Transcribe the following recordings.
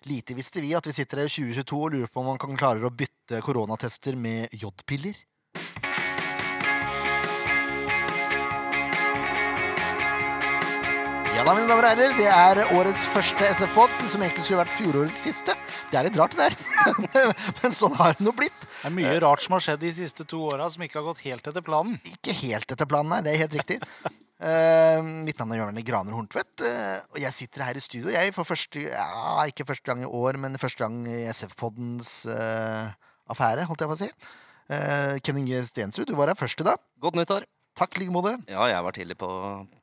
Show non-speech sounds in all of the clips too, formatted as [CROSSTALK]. Lite visste vi at vi sitter her i 2022 og lurer på om man kan klarer å bytte koronatester med jodpiller. Ja da, mine damer og herrer, det er årets første SF-båt, som egentlig skulle vært fjorårets siste. Det er litt rart, det der. [LAUGHS] Men sånn har det nå blitt. Det er mye rart som har skjedd de siste to åra som ikke har gått helt etter planen. Ikke helt etter planen, nei. Det er helt [LAUGHS] riktig. Eh, mitt navn er Jørgen Graner Horntvedt, eh, og jeg sitter her i studio jeg for første ja, Ikke første gang i år, men første gang i SF-poddens eh, affære, holdt jeg på å si. Eh, Ken Inge Stensrud, du var her først i dag. Godt nyttår. Takk i like måte. Ja, jeg var tidlig på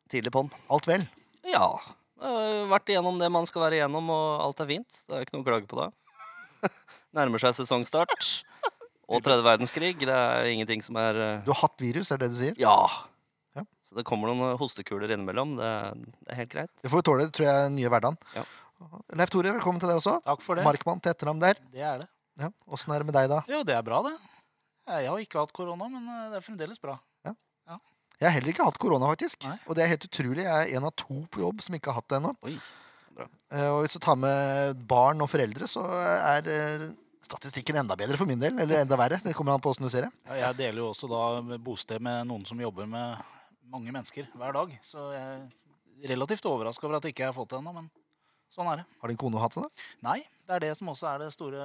tidlig på'n. Alt vel. Ja. jeg har Vært igjennom det man skal være igjennom, og alt er fint. Det er ikke noe å klage på da. [LAUGHS] Nærmer seg sesongstart og tredje verdenskrig. Det er ingenting som er eh, Du har hatt virus, er det det du sier? Ja. Ja. Så det kommer noen eh, hostekuler innimellom. Det, det er helt greit. Det får vi tåle, tror jeg, den nye hverdagen. Ja. Leif Tore, velkommen til deg også. Takk for det. Markmann til etternavn der. Det er det. Ja. Åssen er det med deg, da? Jo, det er bra, det. Jeg har ikke hatt korona, men eh, det er fremdeles bra. Jeg har heller ikke hatt korona, faktisk. Nei. Og det er helt utrolig. Jeg er en av to på jobb som ikke har hatt det ennå. Oi, bra. Eh, Og hvis du tar med barn og foreldre, så er eh, statistikken enda bedre for min del. Eller enda verre. Det kommer an på åssen du ser det. Ja, Jeg deler jo også da bosted med noen som jobber med mange mennesker hver dag. Så jeg er relativt overraska over at jeg ikke har fått det ennå, men sånn er det. Har din kone hatt det? da? Nei, det er det som også er det store,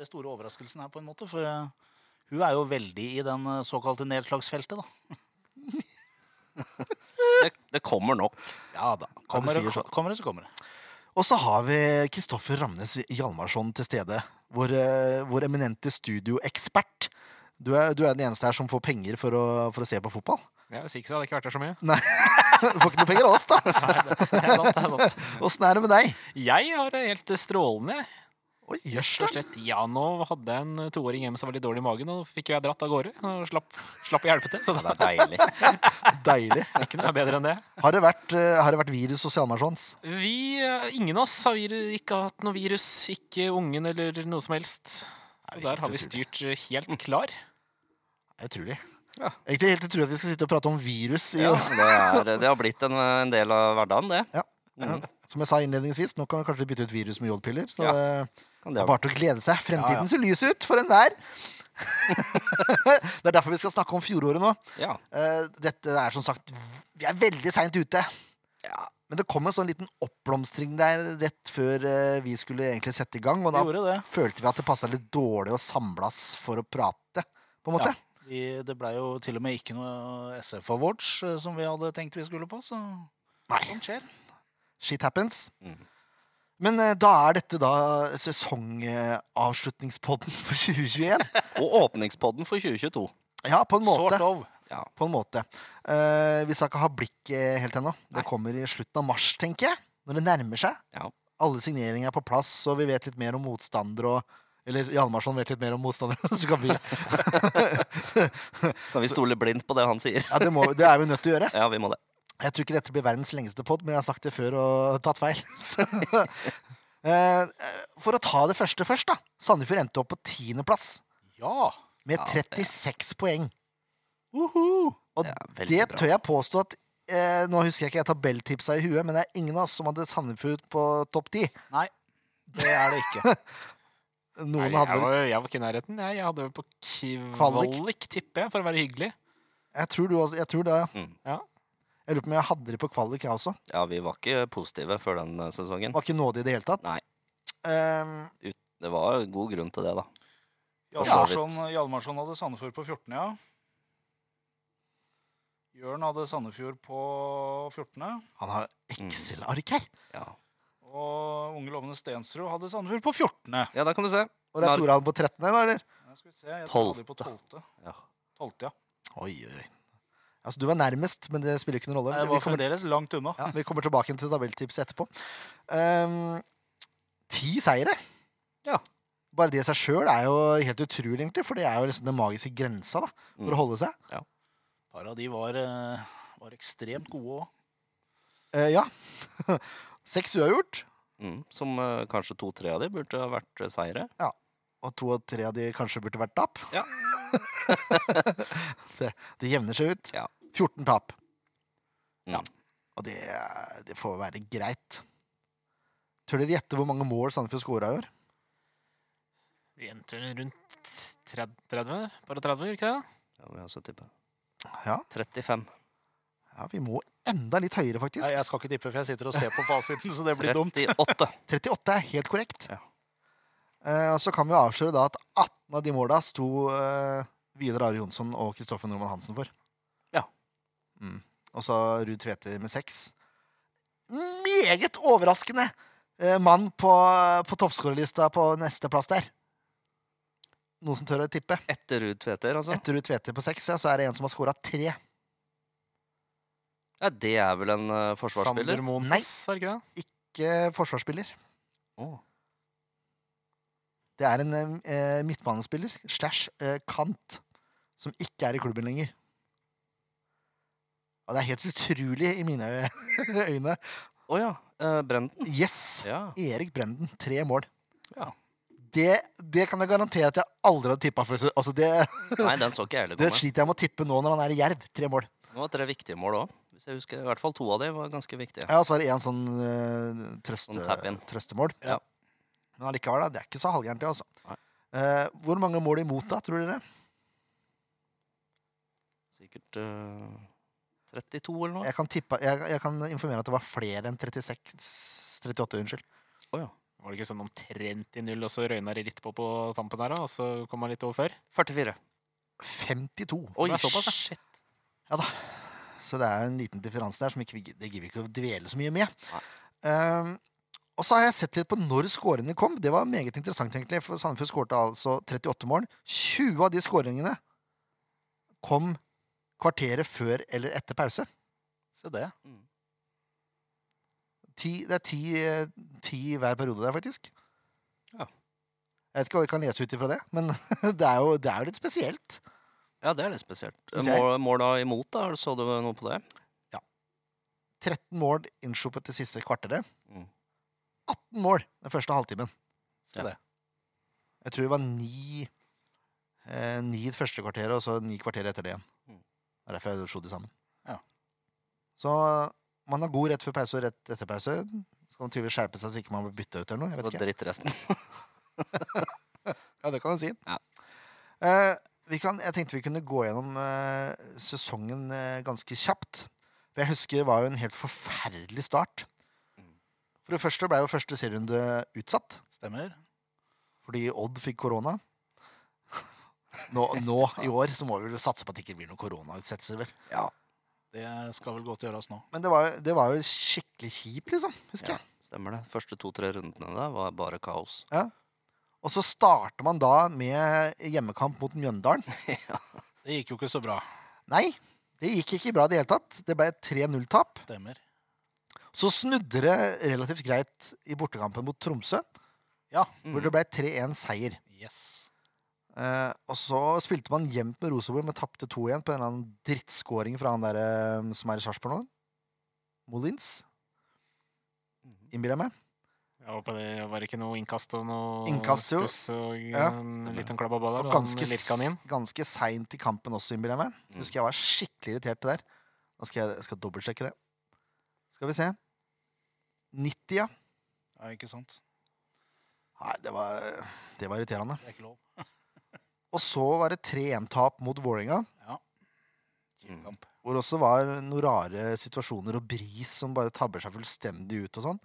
det store overraskelsen her, på en måte. For eh, hun er jo veldig i den eh, såkalte nedslagsfeltet, da. Det, det kommer nok. Ja da. Kommer Ja, det det, sier kommer det så kommer det. Og så har vi Kristoffer Ramnes Hjalmarsson til stede. Vår, eh, vår eminente studioekspert. Du er, du er den eneste her som får penger for å, for å se på fotball. [LAUGHS] Ja, Hvis ikke så hadde jeg ikke vært her så mye. [LAUGHS] Du får ikke noe penger av oss, da. Det er sant, det er sant. Åssen er det med deg? Jeg har det helt strålende. jeg. Oi, Rett og jøss. slett, ja, Nå hadde jeg en toåring hjemme som var litt dårlig i magen, og nå fikk jo jeg dratt av gårde. Og slapp, slapp å hjelpe til. Så Ja, [LAUGHS] det det er deilig. Deilig. er ikke noe bedre enn det. Har det vært, eh, har det vært virus hos Hjalmarssons? Vi, eh, Ingen av oss har viru- ikke hatt noe virus. Ikke ungen eller noe som helst. Så det er der helt har vi utrolig. styrt eh, helt klar. Det er Utrolig. Ja. Egentlig helt utrolig at vi skal sitte og prate om virus. I, Ja, det, er, det har blitt en, eh, en del av hverdagen, det. Mm. Ja, Som jeg sa innledningsvis, nå kan vi kanskje bytte ut virus med jodpiller. Så Ja. det- Kan Det det er bare til å glede seg. Fremtiden ser lys ut for enhver. [LAUGHS] det er derfor vi skal snakke om fjoråret nå. ja. Eh, Dette er som sagt Vi er veldig seint ute. Ja. Men det kom en sånn liten oppblomstring der rett før eh, vi skulle egentlig sette i gang. Og da Vi gjorde det. følte vi at det passa litt dårlig å samles for å prate, på en måte. Ja, vi, det blei jo til og med ikke noe SF Awards eh, som vi hadde tenkt vi skulle på, så sånt skjer. Shit happens. Mm. Men eh, da er dette da sesongavslutningspodden for [LAUGHS] 2021. Og åpningspodden for 2022. Ja, på en måte. Sort of. på en måte. Eh, vi skal ikke ha blikket helt ennå. Det kommer i slutten av mars, tenker jeg. Når det nærmer seg. Ja. Alle signeringer er på plass, og vi vet litt mer om motstandere og Eller Hjalmarsson vet litt mer om motstandere. [LAUGHS] Så kan vi, ja, Kan vi stole blindt på det han sier? det, må, det er vi nødt til å gjøre. Ja, vi må det. Jeg tror ikke dette blir verdens lengste pod, men jeg har sagt det før og tatt feil. [LAUGHS] [LAUGHS] Så, eh, for å ta det første først, da. Sandefjord endte opp på tiendeplass Ja. med Ja, det- 36 poeng. Uhu. Og Det er veldig Det bra. tør jeg påstå at eh, Nå husker jeg ikke jeg tabelltipsa i huet, men det er ingen av oss som hadde Sandefjord på topp ti. Nei, det er det ikke. Noen Nei, hadde jeg, vel var, jeg var ikke i nærheten. Jeg, jeg hadde vel på Kvalik. kvalik, tipper jeg, for å være hyggelig. Jeg tror, du også, jeg tror det. Mm. Ja. Jeg lurer på om jeg hadde det på kvalik, jeg også. Ja, vi var ikke positive før den eh, sesongen. Var ikke nådig i det hele tatt. Nei. Ehm, Det var god grunn til det, da. For så vidt. Hjalmarsson, Hjalmarsson hadde Sandefjord på 14, ja. Jørn hadde Sandefjord på 14. han har Mm. Excel-ark her. Ja, Og unge lovende Stensrud hadde Sandefjord på 14. ja der kan du se. Og det Nar- er Tore han på 13, nå, eller? Ja, skal vi se, jeg tror de på Tolvte. 12. Ja. 12. ja. Oi, oi. Altså, du var nærmest, men det spiller ikke noen rolle. Nei, Det Vi var kommer, fremdeles langt unna. ja, vi kommer tilbake til tabelltips etterpå. Ehm, ti seire. Ja. Bare det i seg sjøl er jo helt utrolig, egentlig. For det er jo liksom den magiske grensa da, for Mm. å holde seg. Et par av de var, eh, var ekstremt gode òg. Eh, ja. [LAUGHS] Seks uavgjort, Mm, som eh, kanskje to-tre av de burde ha vært eh, seire. og to av tre av de kanskje burde vært tap. Ja. [LAUGHS] det, det jevner seg ut. Ja. Mm. 14 tap. Ja. Og det, er- det får være greit. Tør dere gjette hvor mange mål Sandefjord skåra i år? Vi endte vel rundt 30, 30 bare 30, gjør ikke det? Ja, vi har også tippet. Ja. 35. ja, vi må enda litt høyere, faktisk. Nei, jeg skal ikke tippe, for jeg sitter og ser på fasiten, så det blir dumt. 38. 38 er helt korrekt. Ja. Eh, og så kan vi avsløre da at 18 av de måla sto eh, Vidar Are Jonsson og Kristoffer Normann Hansen for. Ja. Mm. Og så Ruud Tveter med seks. Meget overraskende eh, mann på, på toppskårerlista på neste plass der. Noen som tør å tippe? [LAUGHS] Etter Ruud Tveter, altså. Etter Ruud Tveter på seks, ja, så er det en som har skåra tre. Ja, det er vel en eh, forsvarsspiller? Sander Monfoss, er det ikke det? Ikke forsvarsspiller. Å. Det er en eh, midtbanespiller slash eh, kant som ikke er i klubben lenger. Og det er helt utrolig i mine [LAUGHS] øyne. Å ja. eh, Brenden. Yes! Ja. Erik Brenden, tre mål. Ja. Det, det kan jeg garantere at jeg aldri hadde tippa før. så- Altså det, Nei, den så ikke jeg heller det komme. sliter jeg med å tippe nå når han er i Jerv. Tre mål. Det var tre viktige mål òg. Hvis jeg husker, i hvert fall to av de var ganske viktige. Ja, og så var det én sånn eh, trøste, Sånn tap-in. trøstemål. Ja. Men allikevel, da. Det er ikke så halvgærent, det, altså. Nei. Eh, hvor mange mål imot, da, tror dere? Sikkert eh, 32 eller noe. Jeg kan, tippe, jeg, jeg kan informere at det var flere enn 36 38, unnskyld. Å ja. Var det ikke sånn omtrent i null, og så røyna det litt på på tampen der, da, og så kom han litt over før? 44. 52. Oi, Det er såpass, ja. shit. Så det er jo en liten differanse der som ikke, vi- det gidder vi ikke å dvele så mye med. Ehm, og så har jeg sett litt på når scoringene kom. Det var meget interessant, egentlig. For Sandefjord skårte altså 38 mål. 20 av de scoringene kom kvarteret før eller etter pause. Se det. Ti, det er ti, eh, ti hver periode der, faktisk. Ja. Jeg vet ikke hva vi kan lese ut ifra det, men [LAUGHS] det er jo, det er jo litt spesielt. Ja, det er litt spesielt. Synes jeg. Mål, mål da imot, da? Så du noe på det? 13 mål innsluppet det siste kvarteret. Mm. 18 mål den første halvtimen. Se det. Jeg tror det var ni, eh, ni det første kvarteret, og så ni kvarter etter det igjen. Mm. Det er derfor jeg slo de sammen. Ja. Så man har god rett før pause og rett etter pause. Skal man tydeligvis skjerpe seg så ikke man blir bytta ut eller noe. Jeg Og vet ikke. dritt [LAUGHS] resten. Ja, det kan man si. Ja. Eh, vi kan, jeg tenkte vi kunne gå gjennom eh, sesongen eh, ganske kjapt. For jeg husker det var jo en helt forferdelig start. Mm. For det første ble jo første serierunde utsatt. Stemmer. Fordi Odd fikk korona. [LAUGHS] Nå, nå i år så må vi vel satse på at det ikke blir noen koronautsettelser, vel. Det skal vel godt gjøres nå. Men det var, jo- det var jo skikkelig kjipt, liksom. Husker Ja, jeg. stemmer det. Første to-tre rundene der var bare kaos. Og så starter man da med hjemmekamp mot Mjøndalen. Det gikk jo ikke så bra. Nei, det gikk ikke bra i det hele tatt. Det ble et 3-0-tap. Stemmer. Så snudde det relativt greit i bortekampen mot Tromsø, Ja. hvor det ble 3-1-seier. Yes. Eh, og så spilte man jevnt med Rosenborg, men tapte 2-1 på en eller annen drittskåring fra han der eh, som er i Sarpsborg nå. Molins, Mhm. innbiller jeg meg. Jeg håper det var ikke noe innkast og noe Innkast, jo. stuss og Ja. en liten klababa der. Og Og ganske, ganske litt kanin. s- ganske seint i kampen også, innbiller jeg meg. Mm. Husker jeg var skikkelig irritert til der. Da skal jeg, jeg skal dobbeltsjekke det. Skal vi se. 90, ja. Ja, ikke sant? Nei, det var, det var irriterende. Det er ikke lov. Og så var det 3-1-tap mot Vålerenga. Mm. Kamp. Hvor det også var noen rare situasjoner og bris som bare tabber seg fullstendig ut og sånn.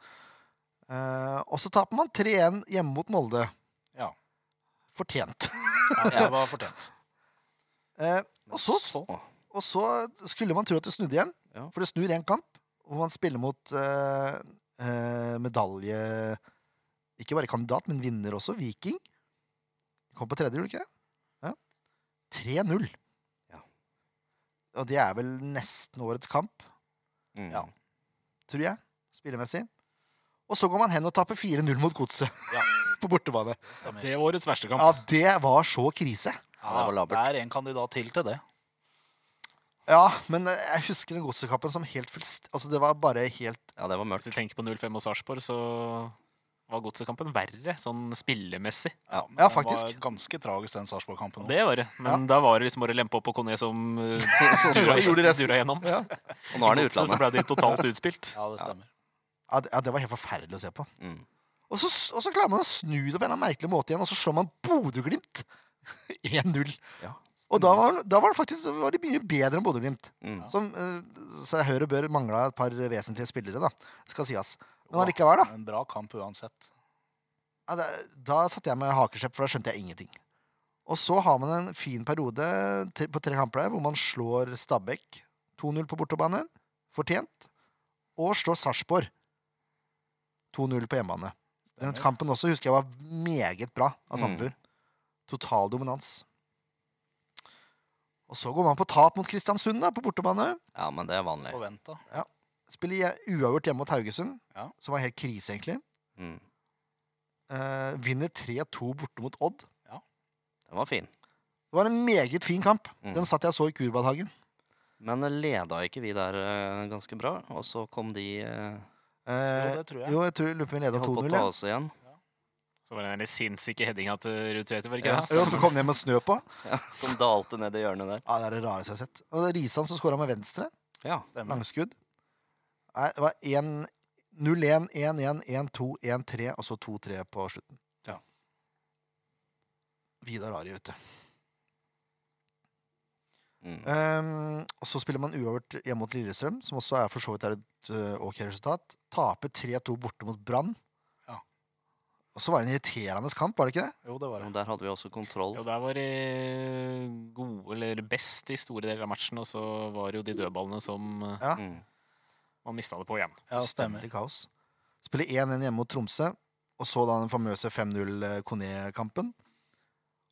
Eh, og så taper man 3-1 hjemme mot Molde. Ja. Fortjent. Ja, det var fortjent. Eh, og, så, og så skulle man tro at det snudde igjen, Ja. for det snur én kamp, hvor man spiller mot eh, eh, medalje Ikke bare kandidat, men vinner også, Viking. Kom på tredje, gjorde du ikke det? Ja. 3-0. Ja. Og det er vel nesten årets kamp. Mm. Ja. tror jeg, spillemessig. Og så går man hen og taper 4-0 mot Godset [LAUGHS] Ja. på bortebane. Stemmer. Det er årets verste kamp. Ja, det var så krise. [LAUGHS] Ja, det var labert. det er en kandidat til til det. Ja, men eh, jeg husker den Godset-kampen som helt fullst... Altså, det var bare helt ja, det var mørkt. Hvis du tenker på 05 og Sarpsborg, så var godsekampen verre, sånn spillemessig. men Ja, den faktisk. Var ganske tragisk, den Sarpsborg-kampen. òg. Det var det. Men da var det liksom bare å lempe opp på Kone som [LAUGHS] eh, tura, Og gjorde dura gjennom. Ja. nå er han i Godset, Så utlandet. ble de totalt utspilt. Ja, det stemmer. Ja, det, ja, det var helt forferdelig å se på. Mm. Og så, og så klarer man å snu det på en eller annen merkelig måte igjen, og så slår man Bodø-Glimt [LAUGHS] 1-0. Ja, og da var, da var det faktisk var de mye bedre enn Bodø-Glimt. Mm. Som, eh, Så jeg hører bør mangla et par vesentlige spillere, da. Skal sies. Men allikevel, da. En bra kamp uansett. Ja, det- Da satte jeg med hakeslepp, for da skjønte jeg ingenting. Og så har man en fin periode til- på tre kamper der hvor man slår Stabæk 2-0 på bortebane, fortjent, og slår Sarpsborg 2-0 på hjemmebane. Den Stemmer. kampen også husker jeg var meget bra av Sandefjord. Total dominans. Og så går man på tap mot Kristiansund da, på bortebane. Ja, men det er vanlig. Forventa. Spiller je- uavgjort hjemme mot Haugesund, Ja. som var helt krise, egentlig. Mm. Eh, vinner 3-2 borte mot Odd. Den var fin. Det var en meget fin kamp. Mm. Den satt jeg og så i Kurbadhagen. Men leda ikke vi der eh, ganske bra? Og så kom de eh, Jo, Eh, det tror jeg. jo, jeg tror lurer på om vi leda holdt på 2-0. å ta ja. oss igjen. Så var det den der sinnssyke headinga til Ruud Tveter, var det Ja. ikke det? Jo, så kom den hjem med snø på. Ja, som dalte ned i hjørnet der. Ja, det er det rareste jeg har sett. Og det er Risan som skåra med venstre. Ja, Stemmer. Langskudd. Nei, det var 1 0-1, 1-1, 1-2, 1-3, og så 2-3 på slutten. Ja. Vidar Ari, vet du. mm. Ehm, og så spiller man uavgjort hjemme mot Lillestrøm, som også er for så vidt er et øh, ok resultat. Taper 3-2 borte mot Brann. Ja. Og så var det en irriterende kamp, var det ikke det? Jo, det var Men det. der hadde vi også kontroll. Jo, der var det gode, eller best i store deler av matchen, og så var det jo de dødballene som eh, Ja. Mm. man mista det på igjen. Ja, stemmer. Fullstendig kaos. Spiller 1-1 hjemme mot Tromsø, og så da den famøse 5-0-Kone-kampen.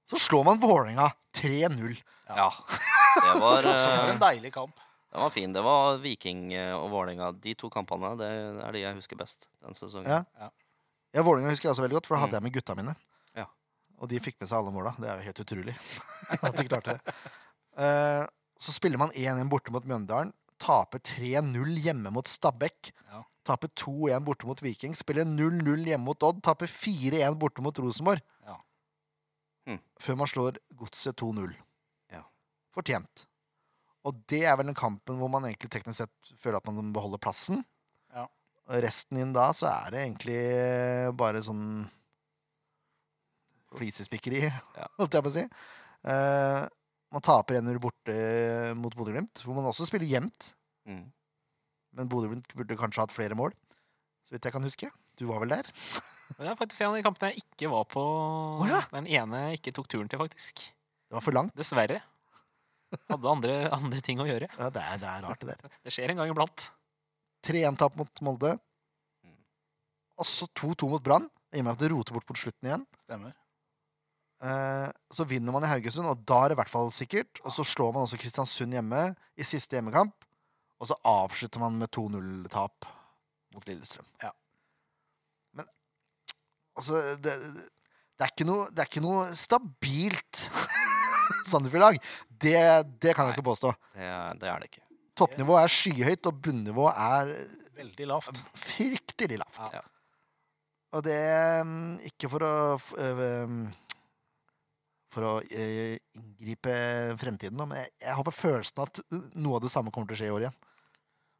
Så slår man Vålerenga 3-0. Ja. Det [LAUGHS] var, Så sånn det var eh, en deilig kamp. det var fin. Det var Viking eh, og Vålerenga. De to kampene det er de jeg husker best den sesongen. Ja. Ja, Vålerenga husker jeg også veldig godt, for da Mm. hadde jeg med gutta mine. Ja. Og de fikk med seg alle måla. Det er jo helt utrolig [LAUGHS] at de klarte [LAUGHS] det. Eh, så spiller man 1-1 borte mot Mjøndalen. Taper 3-0 hjemme mot Stabæk. Ja. Taper 2-1 borte mot Viking. Spiller 0-0 hjemme mot Odd. Taper 4-1 borte mot Rosenborg. Hm. Ja. Hmm. Før man slår Godset 2-0. Ja. Fortjent. Og det er vel den kampen hvor man egentlig teknisk sett føler at man beholder plassen. Ja. Og resten inn da, så er det egentlig bare sånn flisespikkeri, [LAUGHS] holdt jeg på å si. Eh, man taper 1-0 borte mot Bodø-Glimt, hvor man også spiller jevnt. Mm. Men Bodø-Glimt burde kanskje hatt flere mål, så vidt jeg kan huske. Du var vel der? Men det er faktisk en av de kampene jeg ikke var på. ja. Den ene jeg ikke tok turen til, faktisk. Det var for langt. Dessverre. Hadde andre, andre ting å gjøre. Ja, det, er, det er rart, det der. Det skjer en gang iblant. 3-1-tap mot Molde. Mm. Og så 2-2 mot Brann, i og med at det roter bort mot slutten igjen. Stemmer. Eh, så vinner man i Haugesund, og da er det i hvert fall sikkert. Og så slår man også Kristiansund hjemme i siste hjemmekamp. Og så avslutter man med 2-0-tap mot Lillestrøm. Ja. Men altså det, det, det, er ikke noe, det er ikke noe stabilt [LAUGHS] Sandefjord-lag. Det, det kan jeg ikke påstå. Det, er- det er det ikke. Toppnivået er skyhøyt, og bunnivået er Veldig lavt. fryktelig lavt. Ja. Ja. Og det mm, Ikke for å f- øh, mm, For å eh, inngripe fremtiden, da, men jeg, jeg har på følelsen at noe av det samme kommer til å skje i år igjen.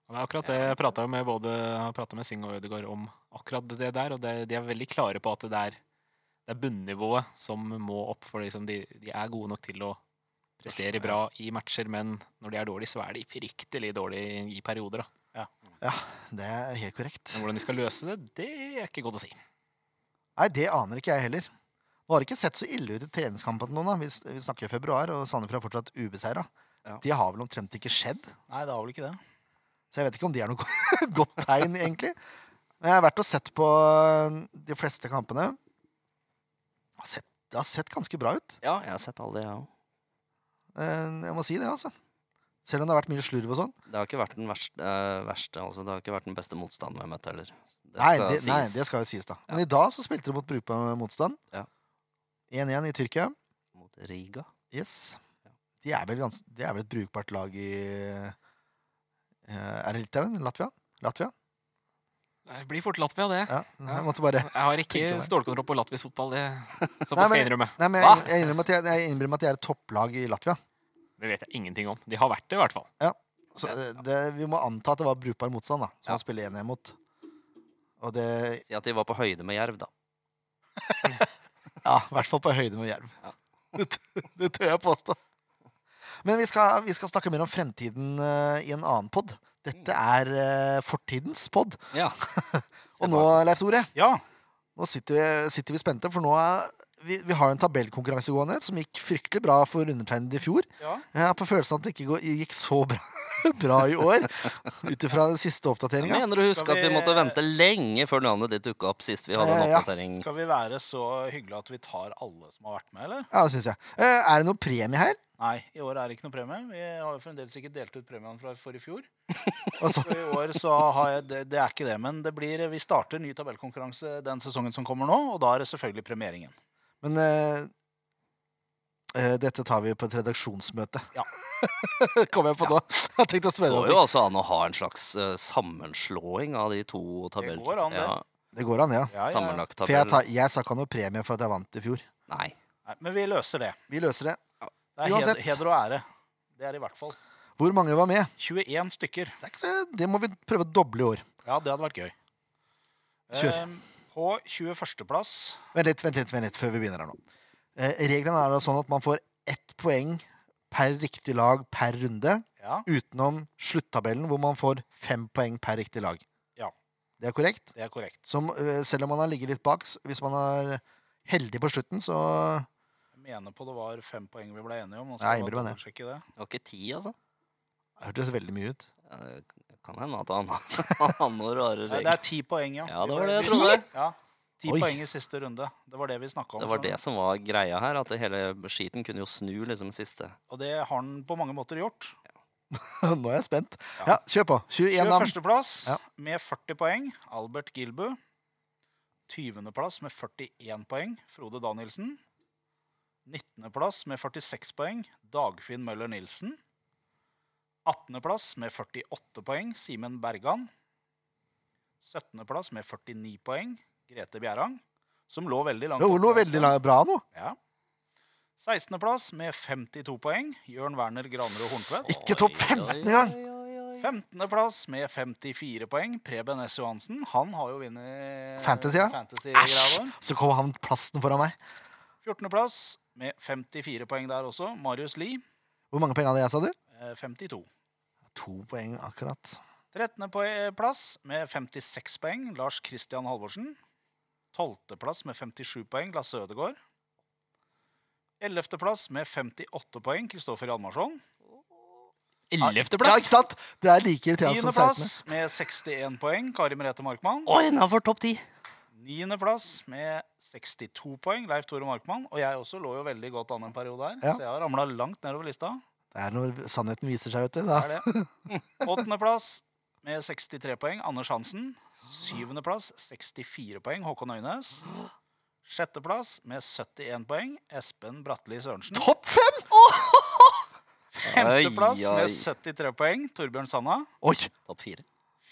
Og det er akkurat det jeg prata med både jeg pratet med Singh og Ødegaard om akkurat det der, og det, de er veldig klare på at det er, det er bunnivået som må opp, for liksom de, de er gode nok til å prestere bra i matcher, men når de er dårlige, så er de fryktelig dårlige i perioder. Da. Det er helt korrekt. Men hvordan de skal løse det, det er ikke godt å si. Nei, det aner ikke jeg heller. Nå har det ikke sett så ille ut i treningskampene nå, da. Vi, s- vi snakker jo februar, og Sandefjord er fortsatt ubeseira. Ja. Det har vel omtrent ikke skjedd, Nei, det har vel ikke det. så jeg vet ikke om det er noe [LAUGHS] godt tegn, egentlig. Men jeg har vært og sett på eh, de fleste kampene. Det har sett, det har sett ganske bra ut. Ja, jeg har sett alle de, jeg òg. Eh, Jeg må si det, altså. Selv om det har vært mye slurv og sånn. Det har ikke vært den verste, eh, verste altså. Det har ikke vært den beste motstanden vi har møtt heller. Det Nei, skal det, nei, sies. det skal jo sies, da. Men i dag så spilte de mot brukbar motstand. Ja. 1-1 i Tyrkia. Mot Riga. Yes. De er vel, gans, de er vel et brukbart lag i eh, Er det Litauen? Latvia? Latvia? Det blir fort Latvia, det. Ja. Jeg måtte bare Jeg har ikke Tenker meg. stålkontroll på latvisk fotball, det [LAUGHS] Nei, såpass skal men- jeg innrømme. Nei, men jeg, jeg innrømmer at jeg, jeg innrømmer at de er et topplag i Latvia. Det vet jeg ingenting om. De har vært det, i hvert fall. Så eh, det, vi må anta at det var brukbar motstand, da. Som Ja. man spiller 1-1 mot. Og det Si at de var på høyde med jerv, da. Ja, i hvert fall på høyde med jerv. [LAUGHS] Det, t- det tør jeg påstå. Men vi skal, vi skal snakke mer om fremtiden eh, i en annen pod. Dette er eh, fortidens pod. [LAUGHS] Ja. Og nå, Leif Tore, Ja, nå sitter, vi- sitter vi spente, for nå er vi, vi har en tabellkonkurranse gående som gikk fryktelig bra for undertegnede i fjor. Ja. Jeg har på følelsen at det ikke går, gikk så bra, [LAUGHS] bra i år, ut ifra den siste Jeg oppdateringa. mener du husker Skal at vi vi- måtte vente lenge før navnet ditt dukka opp sist vi hadde Eh, en ja. oppdatering. Skal vi være så hyggelige at vi tar alle som har vært med, eller? Ja, det syns jeg. Eh, Er det noe premie her? Nei, i år er det ikke noe premie. Vi har jo fremdeles ikke delt ut premiene fra forrige [LAUGHS] fjor. Altså, Så i år så har jeg Det, det er ikke det, men det blir, vi starter ny tabellkonkurranse den sesongen som kommer nå, og da er det selvfølgelig premieringen. Men eh, eh, dette tar vi på et redaksjonsmøte. Ja. [LAUGHS] Kom jeg på nå. Jeg har tenkt å Det spørre om går det. jo altså an å ha en slags eh, sammenslåing av de to tabeller. går an, det. Det går an, ja. Ja, ja. sammenlagt For jeg, tabell. tar, jeg sa ikke noe premie for at jeg vant i fjor. Nei. Nei, men vi løser det. Vi løser det. Det er Uansett. hed, heder og ære. Det er i hvert fall Hvor mange var med? 21 stykker. Det, er ikke så, det må vi prøve å doble i år. Ja, det hadde vært gøy. Kjør. Eh, På 21.-plass Vent litt, vent litt, vent litt før vi begynner her nå. Eh, reglene er da sånn at man får ett poeng per riktig lag per runde, Ja, utenom sluttabellen, hvor man får fem poeng per riktig lag. Ja. Det er korrekt? det er korrekt. Som, eh, selv om man har ligget litt bak, s- hvis man er heldig på slutten, så Jeg mener på det var fem poeng vi ble enige om. og så Ja, jeg bare innbiller meg dobbeltsjekke det. Det var ikke ti, altså. hørtes veldig mye ut. [LAUGHS] Ja, det Kan hende at han [LAUGHS] han har noen Nei, rare det regler. er ti poeng, ja. Ja, Vi det var ble- det jeg vi- trodde. Ja, Ti Oi. poeng i siste runde. Det var det vi snakka om. Det var så- det som var greia her, at det hele skiten kunne jo snu liksom siste. Og det har han på mange måter gjort. Nå er jeg spent. Ja. Ja, kjør på. 21 navn. 21.-plass Ja. med 40 poeng, Albert Gilbu. 20.-plass med 41 poeng, Frode Danielsen. 19.-plass med 46 poeng, Dagfinn Møller Nilsen. 18.-plass med 48 poeng, Simen Bergan. 17.-plass med 49 poeng, Grete Bjerang. Som lå veldig langt Jo, oppe lå en veldig stund. la- bra nå. Ja. 16.-plass med 52 poeng, Jørn Werner Granerud Horntvedt. Ikke topp Oi, 15 oi, engang! oi, oi, oi. 15.-plass med 54 poeng, Preben S. Johansen. Han har jo vunnet Fantasy, ja. Æsj! Fantasy-greia vår. Så kom han plassen foran meg. 14.-plass med 54 poeng der også, Marius Lie. Hvor mange poeng hadde jeg, sa du? eh, 52. To poeng akkurat. 13.-plass med 56 poeng, Lars Christian Halvorsen. 12.-plass med 57 poeng, Lasse Ødegaard. 11.-plass med 58 poeng, Kristoffer Hjalmarsson. Ja, ikke sant? Det er like irriterende som 16. Tiendeplass med 61 poeng, Kari Merete Markmann. Oi, innafor topp ti! Niendeplass med 62 poeng, Leif Tore Markmann. Og jeg også lå jo veldig godt an en periode her, Ja. så jeg har ramla langt nedover lista. Det er når sannheten viser seg, vet du. Det Da. er det. [LAUGHS] Åttendeplass med 63 poeng, Anders Hansen. Syvendeplass 64 poeng, Håkon Øynes. Sjetteplass med 71 poeng, Espen Bratli Sørensen. Topp fem! Femteplass Ai, ai. med 73 poeng, Torbjørn Sanna. Oi! Topp fire.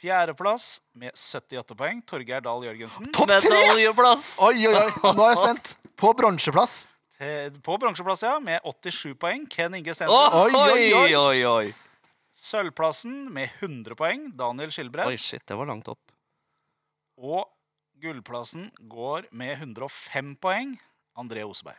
Fjerdeplass med 78 poeng, Torgeir Dahl Jørgensen. Topp tre! Medaljeplass! Oi, oi, oi. Nå er jeg spent. På bronseplass. Te- På bronseplass, ja, med 87 poeng. Ken Inge Stensrud. Oi, Oi, oi, oi, oi. oi, oi! Sølvplassen med 100 poeng. Daniel Oi, Skilbred. shit, det var langt opp. Og gullplassen går med 105 poeng. André Oseberg.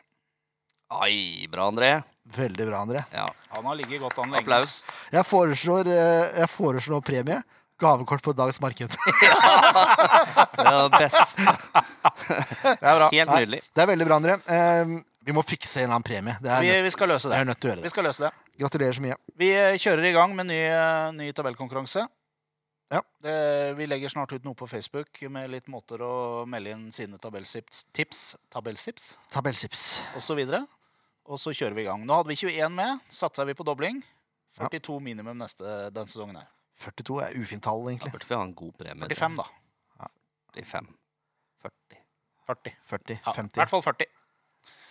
Oi, bra, André. Veldig bra, André. Ja, Han har ligget godt an lenge. Applaus. [LAUGHS] Jeg foreslår, eh, jeg foreslår premie. Gavekort på dagens [LAUGHS] marked. Det var best. [LAUGHS] Det er bra. Helt nydelig. Det er veldig bra, André. Eh, vi må fikse en eller annen premie. Det er Vi, nødt, vi skal løse jeg det. er nødt til å gjøre Vi det. skal løse det. Gratulerer så mye. Vi eh, kjører i gang med ny, eh, ny tabellkonkurranse. Ja. Det, vi legger snart ut noe på Facebook med litt måter å melde inn sine tabellsips, tips, tabellsips Tabellsips. og så videre. Og så kjører vi i gang. Nå hadde vi 21 med. Satsa vi på dobling. Ja. 42 minimum neste den sesongen her. 42 er ufint tall, Da egentlig. burde vi ha en god premie. 45, da. 45. 40. 40. 40, Ja, I 50. hvert fall 40.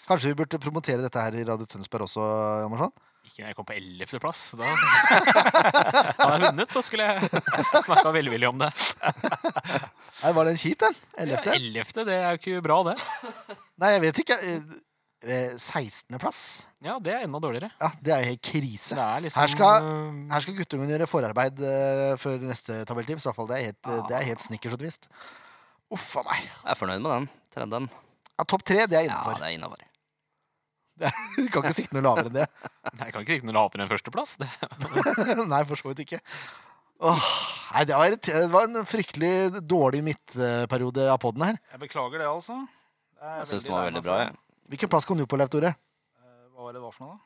Kanskje vi burde promotere dette her i Radio Tønsberg også, Hjalmarsson? Ikke når jeg kom på ellevteplass. Da [LAUGHS] hadde jeg vunnet, så skulle jeg [LAUGHS] snakka velvillig om det. Nei, var den kjip, den? 11. Ellevte, det er jo ikke bra, det. Nei, jeg vet ikke. Eh, eh, 16. plass. Ja, det er enda dårligere. Ja, det er jo helt Det krise. er liksom Her skal- øh, Her skal Ah. guttungen gjøre forarbeid eh, før neste tabelltips. i hvert fall. Det er helt, eh, det er helt snickers og twist. Uff a meg. Jeg er fornøyd med den trenden. Ja, topp tre, det er Ja, innafor. det er innafor. Du kan ikke sikte noe lavere enn det. [LAUGHS] Nei, jeg kan ikke sikte noe lavere enn førsteplass. Det. Nei, for så vidt ikke. Åh, nei, det var, irrite- det var en fryktelig dårlig midtperiode av poden her. Jeg beklager det, altså. Det er Jeg syns veldig den var lei meg veldig for bra. Jeg. det. Hvilken plass kom du på, Leif Tore? Eh, Hva var det det var for noe, da?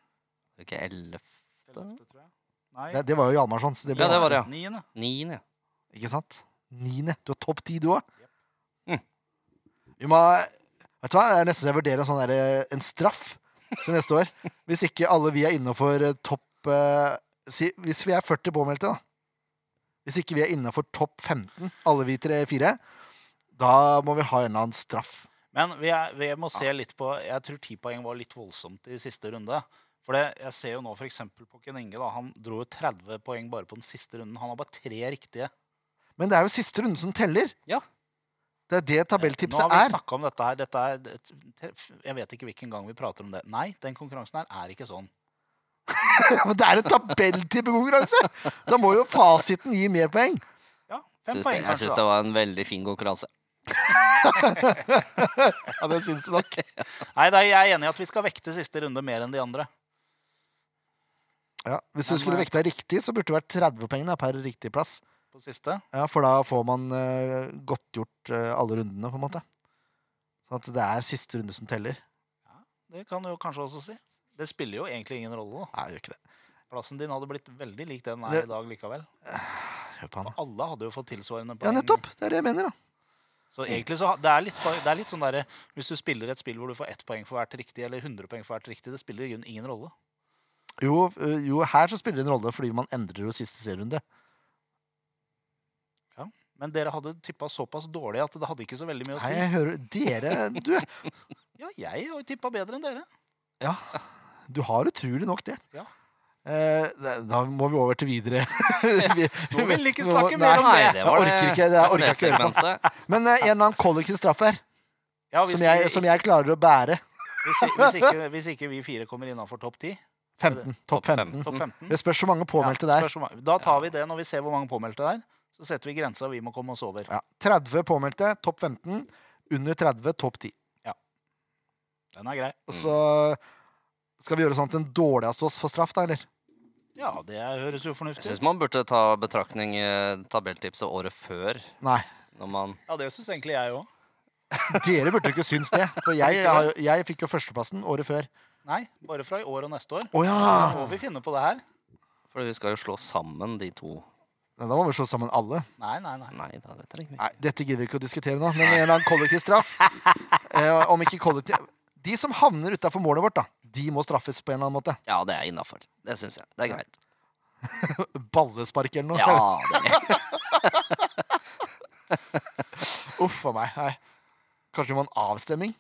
Ikke elleve Da. Ellevte, tror jeg. Nei, Det, det var jo Hjalmarssons. Det ble Ja, det var vanskelig. det, ja. niende. Niende. Ikke sant? Niende. Du har topp ti, du òg. Mm. Vi må Vet du hva, det er nesten så jeg vurderer en sånn derre- en straff til neste år. Hvis ikke alle vi er innafor topp eh, si, Hvis vi er 40 påmeldte, da. Hvis ikke vi er innafor topp 15, alle vi tre-fire, da må vi ha en eller annen straff. Men vi, er, vi må se litt på Jeg tror ti poeng var litt voldsomt i siste runde. For det, jeg ser jo nå f.eks. på Ken Inge. da, Han dro jo 30 poeng bare på den siste runden. Han har bare tre riktige. Men det er jo siste runde som teller. Ja. Det er det Nå tabelltipset har vi [LAUGHS] er. snakka om dette her. Dette er, det- jeg vet ikke hvilken gang vi prater om det. Nei, den konkurransen her er ikke sånn. Men det er en tabelltippekonkurranse! Da må jo fasiten gi mer poeng. Ja, fem Syns det, poeng, jeg kanskje. syns da. det var en veldig fin konkurranse. [LAUGHS] Ja, det syns du nok. Nei, da, jeg er enig i at vi skal vekte siste runde mer enn de andre. Ja, hvis Men, du skulle eh, vekta riktig, så burde det vært 30 poeng da, per riktig plass. På siste. Ja, For da får man eh, godtgjort eh, alle rundene, på en måte. Sånn at det er siste runde som teller. Det kan du jo kanskje også si. Det spiller jo egentlig ingen rolle. da. Nei, det gjør ikke det. Plassen din hadde blitt veldig lik den er Det- i dag likevel. Hør på han. da. Alle hadde jo fått tilsvarende Ja, poeng. nettopp! Det er det jeg mener, da. Så egentlig så ha- det er litt, bare- det er litt sånn derre Hvis du spiller et spill hvor du får ett poeng for hvert riktig, eller 100 poeng for hvert riktig, det spiller i grunnen ingen rolle. Jo, eh, jo, her så spiller det en rolle, fordi man endrer jo siste serierunde. Men dere hadde tippa såpass dårlig at det hadde ikke så veldig mye å Nei, si. jeg hører Dere, du, Ja, jeg har jo tippa bedre enn dere. du har utrolig nok det. Ja. Eh, da- da må vi over til videre. [LAUGHS] vi, Nå vil ikke nå- snakke nei, mer om det. Jeg orker ikke, jeg orker ikke å høre på. segmentet. Men eh, en eller annen kollektiv straff her, Ja, hvis, som vi jeg, ikke- som jeg klarer å bære. hvis, hvis, ikke, hvis ikke vi fire kommer innafor topp 10, 15. Topp Topp 15. 15. topp 15 Det spørs hvor mange påmeldte ja, der. spørs hvor mange- Da tar vi det når vi ser hvor mange påmeldte det er. Så setter vi grensa vi må komme oss over. Ja. 30 påmeldte, topp 15. Under 30, topp 10. Den er grei. Og så skal vi gjøre sånn at den dårligste av oss får straff, da, eller? Ja, det høres jo fornuftig Jeg ut. syns man burde ta betraktning eh, tabelltipset året før. [LAUGHS] Nei. Når man Ja, det syns egentlig jeg òg. Dere burde jo ikke synes det. For jeg, har jo- jeg fikk jo førsteplassen året før. Nei, bare fra i år og neste år. Å ja! Så må vi finne på det her. For vi skal jo slå sammen de to. Da må vi slå sammen alle. Nei, nei, nei. Nei da, det trenger vi ikke. Nei, dette gidder vi ikke å diskutere nå, men en eller annen kollektiv [LAUGHS] straff. Eh, om ikke kollektiv De som havner utafor målet vårt, da, de må straffes på en eller annen måte. Ja, det er innafor. Det syns jeg. Det er greit. Ballespark eller noe. Ja, det [LAUGHS] Uff a meg. Nei. Kanskje vi må ha en avstemning?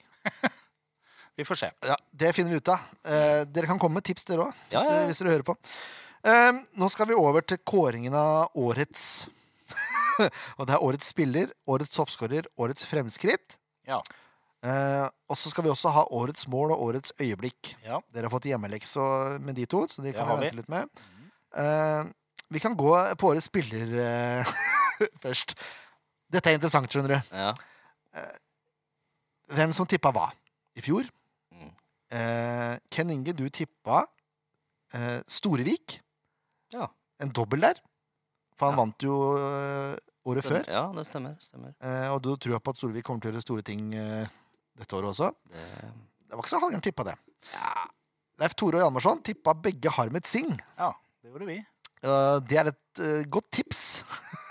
Vi får se. Ja, Det finner vi ut av. Eh, dere kan komme med tips, dere òg. Hvis, Ja, ja, ja. dere- hvis dere hører på. Eh, nå skal vi over til kåringen av årets. [LAUGHS] og det er årets spiller, årets toppskårer, årets fremskritt. Ja. Eh, og så skal vi også ha årets mål og årets øyeblikk. Ja. Dere har fått hjemmelekse med de to, så de Det kan har vi vi. vente litt med. Eh, vi kan gå på årets spiller eh, [LAUGHS] først. Dette er interessant, skjønner du ja. hvem som tippa hva i fjor. Mm. Eh, Ken Inge, du tippa eh, Storevik. Ja. En dobbel der. For han Ja. vant jo eh, året før. Ja, det stemmer. stemmer. Eh, og du tror på at Storevik kommer til å gjøre store ting eh, dette året også. Det, Det var ikke så halvgærent tippa, det. ja. Leif Tore og Hjalmarsson tippa begge Harmet Singh. Det gjorde vi. Eh, det er et eh, godt tips.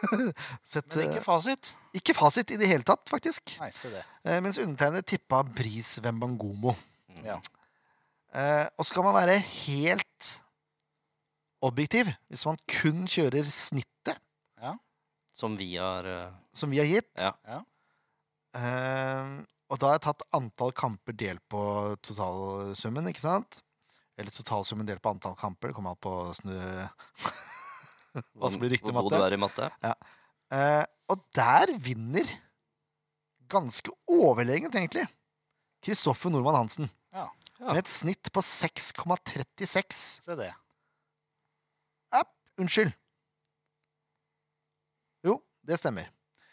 [LAUGHS] Sett, eh, Men ikke fasit. ikke fasit i det hele tatt, faktisk. Nei, se det. Eh, mens undertegnede tippa Bris Wembangomo. Mm. Ja. Eh, og så kan man være helt objektiv hvis man kun kjører snittet Som vi har eh, som vi har gitt. Ja. Ja. Eh, og da har jeg tatt antall kamper delt på totalsummen, ikke sant? Eller totalsummen delt på antall kamper. Det kommer an på snø. Hva som blir riktig Hvor god matte. du er i matte. Eh, og der vinner ganske overlegent, egentlig, Kristoffer Nordmann Hansen. Ja. Ja. Med et snitt på 6,36. Se det. Unnskyld. Jo, det stemmer.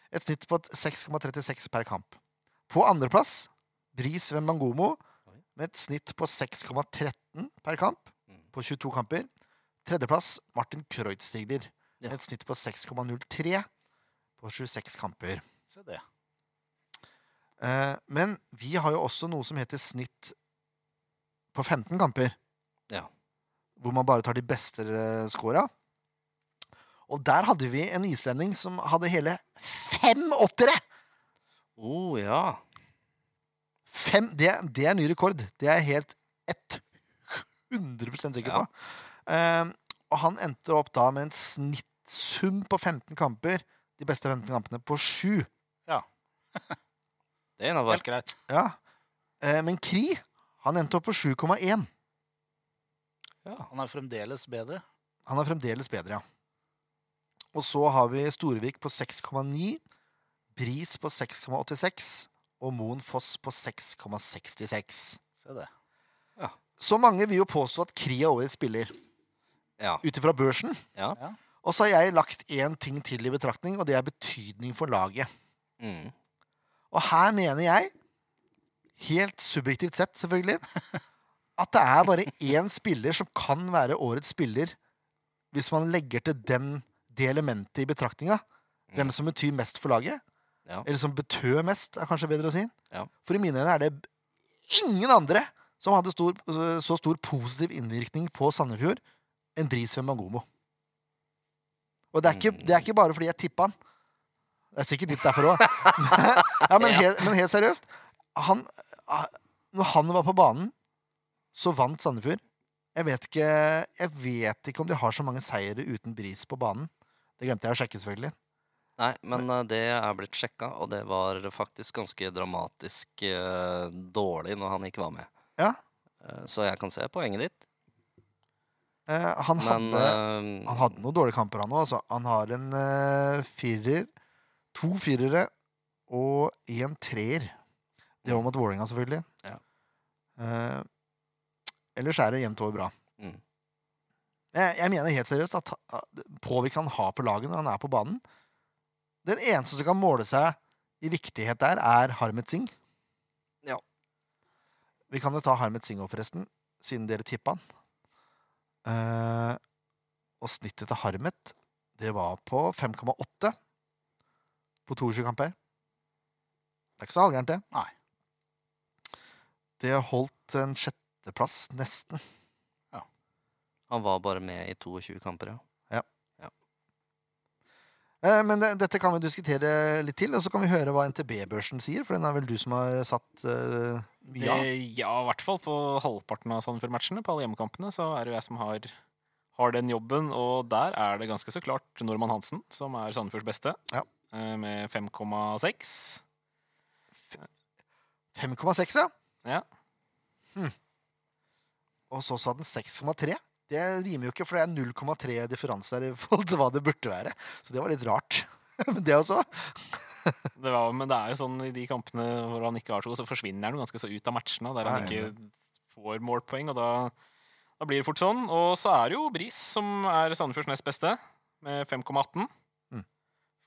Et snitt på et 6,36 per kamp. På andreplass Bris Wembangomo Oi. med et snitt på 6,13 per kamp Mm. på 22 kamper. Tredjeplass Martin Kreutzstigler Ja. med et snitt på 6,03 på 26 kamper. Se det. Eh, men vi har jo også noe som heter snitt på 15 kamper. Ja. Hvor man bare tar de beste eh, scora. Og der hadde vi en islending som hadde hele fem åttere! Oh, ja. Fem, det, det er ny rekord. Det er jeg helt 100 sikker Ja. på. Eh, og han endte opp da med en snittsum på 15 kamper, de beste 15 kampene, på sju. Det er innafor. Helt greit. Ja. Eh, men Kri, han endte opp på 7,1. Han er fremdeles bedre. Han er fremdeles bedre, ja. Og så har vi Storvik på 6,9, Bris på 6,86 og Moen Foss på 6,66. Se det. Så mange vil jo påstå at Kri er årets spiller, Ja. ut ifra børsen. Ja. Ja. Og så har jeg lagt én ting til i betraktning, og det er betydning for laget. Mm. Og her mener jeg, helt subjektivt sett selvfølgelig, at det er bare én spiller som kan være årets spiller hvis man legger til den, det elementet i betraktninga. Hvem som betyr mest for laget. Ja. Eller som betød mest, er kanskje bedre å si. Ja. For i mine øyne er det ingen andre som hadde stor, så stor positiv innvirkning på Sandefjord enn Bris Wembangomo. Og det er, ikke, Mm. det er ikke bare fordi jeg tippa han. Det er sikkert litt derfor òg. ja, men, helt- men helt seriøst. Han, ah, når han var på banen, så vant Sandefjord. Jeg vet, ikke, jeg vet ikke om de har så mange seire uten bris på banen. Det glemte jeg å sjekke, selvfølgelig. Nei, men eh, det er blitt sjekka, og det var faktisk ganske dramatisk eh, dårlig når han ikke var med. Ja. Eh, så jeg kan se poenget ditt, Eh, han, men hadde, eh, han hadde noen dårlige kamper, han òg. Altså. Han har en eh, firer, to firere og en treer. Det var mot Vålerenga, selvfølgelig. Mm. Ja. Eh, ellers er det jevnt over bra. Mm. Jeg, jeg mener helt seriøst at ha- påvirk han har på laget når han er på banen Den eneste som kan måle seg i viktighet der, er Harmet Singh. Ja. Vi kan jo ta Harmet Singh opp, forresten, siden dere tippa han. Eh, og snittet til Harmet, det var på 5,8 på 22 kamper. Det er ikke så halvgærent, det. Nei. Det holdt en sjetteplass, nesten. han var bare med i 22 kamper, ja. Eh, Men det, dette kan vi diskutere litt til, og så kan vi høre hva NTB-børsen sier. For den er vel du som har satt eh, mye Ja, av. ja i hvert fall på halvparten av Sandefjord-matchene. På alle hjemmekampene så er det jo jeg som har, har den jobben, og der er det ganske så klart Normann Hansen som er Sandefjords beste, Ja. eh, med 5,6. 5,6, ja. Ja. Hm. Og så sa den 6,3. Det rimer jo ikke, for det er 0,3 differanse her i forhold til hva det burde være. Så det var litt rart. [LAUGHS] Men det også. Det var, men det er jo sånn i de kampene hvor han ikke har så god, så forsvinner han jo ganske så ut av matchene, og der han Ja, ja, ikke får målpoeng, og da, da blir det fort sånn. Og så er det jo Bris som er Sandefjords nest beste, med 5,18, Mm.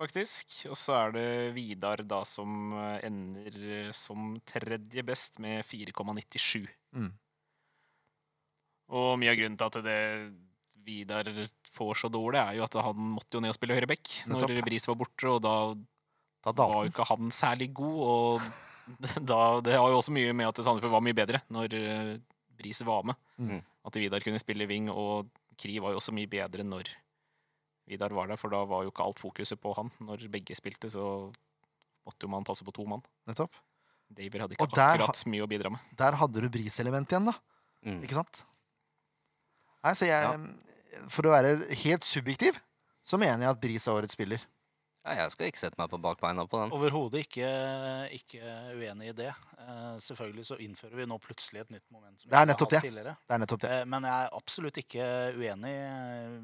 faktisk. Og så er det Vidar da som eh, ender som tredje best, med 4,97. Mm. Og mye av grunnen til at det Vidar får så dårlig, er jo at han måtte jo ned og spille høyreback når Nettopp. Bris var borte, og da Da var dalte jo den. ikke han særlig god, og da, det har jo også mye med at Sandefjord var mye bedre når eh, Bris var med. Mm. At Vidar kunne spille wing, og Kri var jo også mye bedre når Vidar var der, for da var jo ikke alt fokuset på han. Når begge spilte, så måtte jo man passe på to mann. Nettopp. Daver hadde ikke Og der akkurat så mye å bidra med. Der hadde du bris-element igjen, da. Mm. Ikke sant? Nei, så jeg, eh, For å være helt subjektiv, så mener jeg at Bris er årets spiller. ja. Jeg skal ikke sette meg på bakbeina på Mm. den. Overhodet ikke, ikke uenig i det. Eh, selvfølgelig så innfører vi nå plutselig et nytt moment. Som Det er vi ikke har nettopp det. hatt tidligere. Det er nettopp det. Eh, Men jeg er absolutt ikke uenig. eh,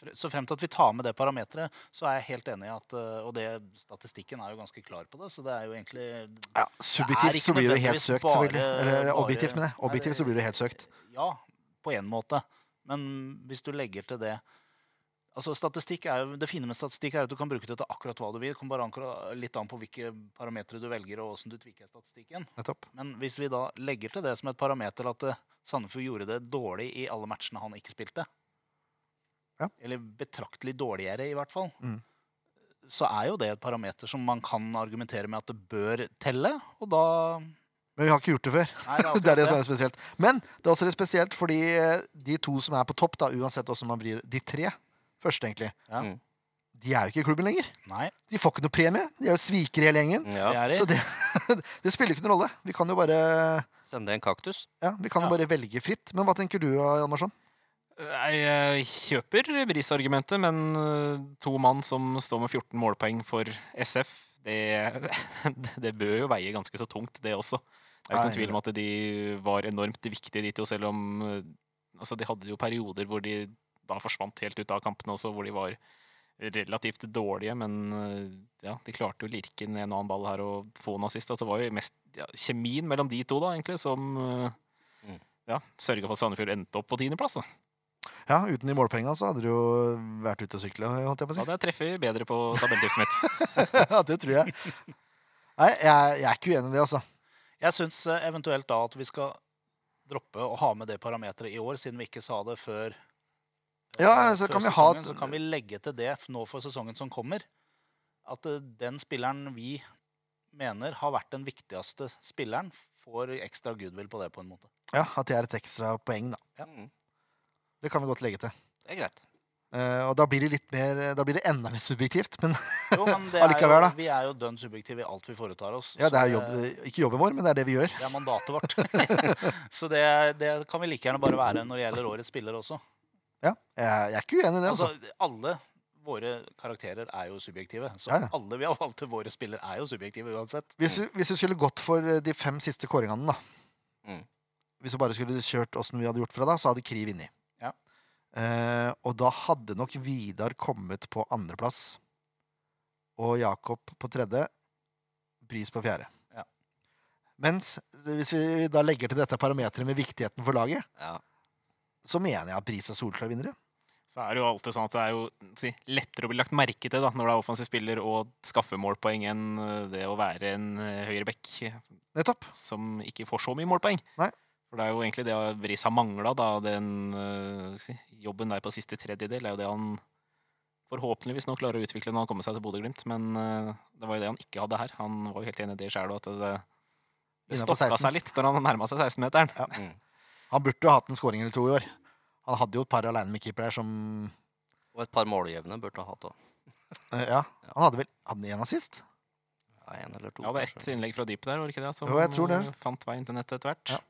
fre- Så frem til at vi tar med det parameteret, så er jeg helt enig i at eh, Og det, statistikken er jo ganske klar på det, så det er jo egentlig Ja, subjektivt så ikke blir det jo helt nødvendigvis søkt, bare- selvfølgelig. Eller bare- objektivt, men det. Objektivt så blir det helt søkt. Ja, på en måte. Men hvis du legger til det Altså statistikk er, jo- Det fine med statistikk er at du kan bruke det til akkurat hva du vil. Det kommer bare ankra- litt an på hvilke parametere du velger, og hvordan du tviker statistikken. Nettopp. Men hvis vi da legger til det som et parameter at eh, Sandefjord gjorde det dårlig i alle matchene han ikke spilte, Ja. eller betraktelig dårligere, i hvert fall, Mm. så er jo det et parameter som man kan argumentere med at det bør telle, og da Men vi har ikke gjort det før. Nei, [LAUGHS] Det er er det akkurat som er spesielt. Men det er også litt spesielt fordi eh, de to som er på topp, da, uansett hvordan man vrir De tre første, egentlig. Ja. Mm. De er jo ikke i klubben lenger. Nei, De får ikke noe premie. De er jo svikere, hele gjengen. det Ja. er Så det. det, det [LAUGHS] spiller ikke noen rolle. Vi kan jo bare, Sende en kaktus. ja, vi kan jo bare velge fritt. Men hva tenker du, Hjalmarsson? Nei, Jeg kjøper Bris-argumentet, men eh, to mann som står med 14 målpoeng for SF, det, [LAUGHS] det bør jo veie ganske så tungt, det også. Det er Nei, jo ikke noen tvil om at de var enormt viktige, de to, selv om eh, altså, de hadde jo perioder hvor de da forsvant helt ut av kampene også, hvor de var relativt dårlige, men eh, ja, de klarte jo å lirke ned en annen ball her og få en assist. Altså, det var jo mest ja, kjemien mellom de to, da, egentlig, som eh, Mm. ja, sørga for at Sandefjord endte opp på tiendeplass. da. Ja, uten de målpenga så hadde du jo vært ute og sykle, holdt jeg på å si. Da hadde jeg treffet bedre på [LAUGHS] tabelltipset mitt. Ja, det tror jeg. Nei, jeg, jeg er ikke uenig i det, altså. Jeg syns eh, eventuelt da at vi skal droppe å ha med det parameteret i år, siden vi ikke sa det før. eh, Ja, så før kan vi ha sesongen, et- så kan vi legge til det f- nå for sesongen som kommer. At eh, den spilleren vi mener har vært den viktigste spilleren, får ekstra goodwill på det, på en måte. Ja, At det er et ekstra poeng, da. Ja. Mm. Det kan vi godt legge til. Det er greit. Eh, og da blir det litt mer Da blir det enda mer subjektivt. Men [LAUGHS] Jo, men det er Allikevel, jo, da. vi er jo dønn subjektive i alt vi foretar oss. ja, så det er jobb, ikke jobben vår, men det er det vi gjør. Det er [LAUGHS] mandatet vårt. [LAUGHS] så det, det kan vi like gjerne bare være når det gjelder årets spiller også. Ja, jeg, jeg er ikke uenig i det, altså. Altså, alle våre karakterer er jo subjektive. Så Ja, ja. alle vi har valgt til våre spillere, er jo subjektive uansett. Hvis du, hvis du skulle gått for eh, de fem siste kåringene, da Mm. Hvis du bare skulle kjørt åssen vi hadde gjort fra da, så hadde Kri vunnet. Ja. Eh, og da hadde nok Vidar kommet på andreplass. Og Jakob på tredje. Pris på fjerde. Ja. Mens eh, hvis vi da legger til dette parameteret med viktigheten for laget, Ja. så mener jeg at Pris er solklar vinner. ja. Så er det jo alltid sånn at det er jo si, lettere å bli lagt merke til da, når det er offensiv spiller og skaffe målpoeng enn eh, det å være en eh, høyreback Nettopp. som ikke får så mye målpoeng. Nei. For det er jo egentlig det Bris har mangla, da. Den eh, si, jobben der på siste tredjedel er jo det han forhåpentligvis nå klarer å utvikle når han kommer seg til Bodø-Glimt, men eh, det var jo det han ikke hadde her. Han var jo helt enig i det sjæl, at det, det Innenfor stokka 16. seg litt når han nærma seg 16-meteren. Han burde jo hatt en scoring eller to i år. Han hadde jo et par aleine med keepere her som Og et par måljevne burde ha hatt òg. eh, Ja, han hadde vel Hadde han én assist? Ja, en eller to. Ja, det er ett kanskje. innlegg fra dypet der, var det ikke det? Som eh, Jo, jeg tror det. fant veien til nettet etter hvert. Ja.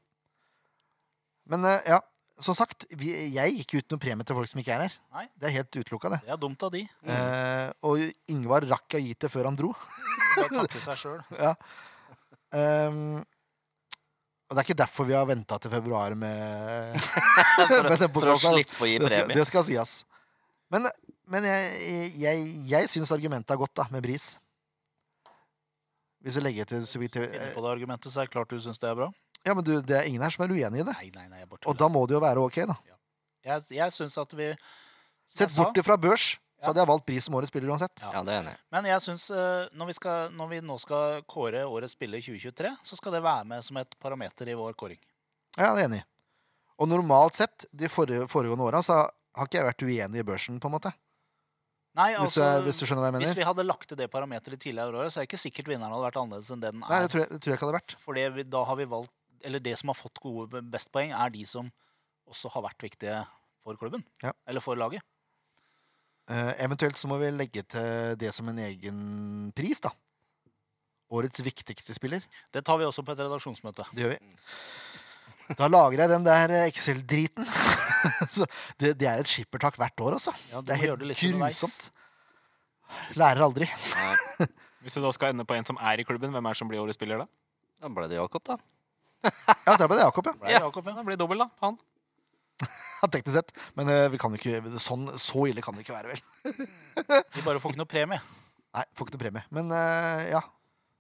Men eh, ja, som sagt, vi, jeg gikk jo ut noen premie til folk som ikke er her. Nei. Mm. Det er helt utelukka, det. Det er dumt av de. Eh, og Ingvar rakk å gi til før han dro. [LAUGHS] Bare takke seg sjøl. Ehm, og det er ikke derfor vi har venta til februar med, for, med den å- for å podcasten, altså. slippe å gi [LAUGHS] Det skal, premie. det skal sies. Men, men jeg, jeg, jeg syns argumentet er godt, da, med Bris. Hvis vi legger til subjektiv... Inne eh, på det argumentet, så er det klart du syns det er bra. Ja, men du, det er ingen her som er uenig i det. Nei, nei, nei, jeg bare Og tuller. da må det jo være ok, da. Jeg, jeg syns at vi som jeg Sett sa, bort ifra børs, Ja. så hadde jeg valgt Bris som årets spiller uansett. Ja, det er jeg enig. i. Men jeg synes, eh, når, vi skal, når vi nå skal kåre årets spiller 2023, så skal det være med som et parameter i vår kåring. Ja, det er jeg enig. i. Og normalt sett, de forrige, foregående åra, så har ikke jeg vært uenig i børsen, på en måte. Nei, Hvis, altså, du, hvis du skjønner hva jeg hvis mener? vi hadde lagt til det parameteret tidligere i året, så er det ikke sikkert vinneren hadde vært annerledes enn det den Nei, er. det tror jeg, det tror jeg ikke hadde vært. For det vi, da har vi valgt Eller det som har fått gode best poeng, er de som også har vært viktige for klubben. Ja. Eller for laget. Eh, eventuelt så må vi legge til det som en egen pris, da. Årets viktigste spiller. Det tar vi også på et redaksjonsmøte. Det gjør vi. Da lagrer jeg den der eh, Excel-driten. [LAUGHS] Så det, det er et skippertak hvert år, altså. Ja, du Det må er gjøre det helt litt underveis. grusomt. Lærer aldri. Nei, Hvis du da skal ende på en som er i klubben, hvem er det som blir årets spiller da? Da ble det Jakob, da. Ja, der ble det Jakob, ja. [LAUGHS] Ble det, Ja. Jakob, ja. Han blir dobbel, da. Han. Ja, Teknisk sett. Men eh, vi kan jo ikke, sånn, så ille kan det ikke være, vel. Vi bare får ikke noe premie. Nei, får ikke noe premie. Men eh, ja,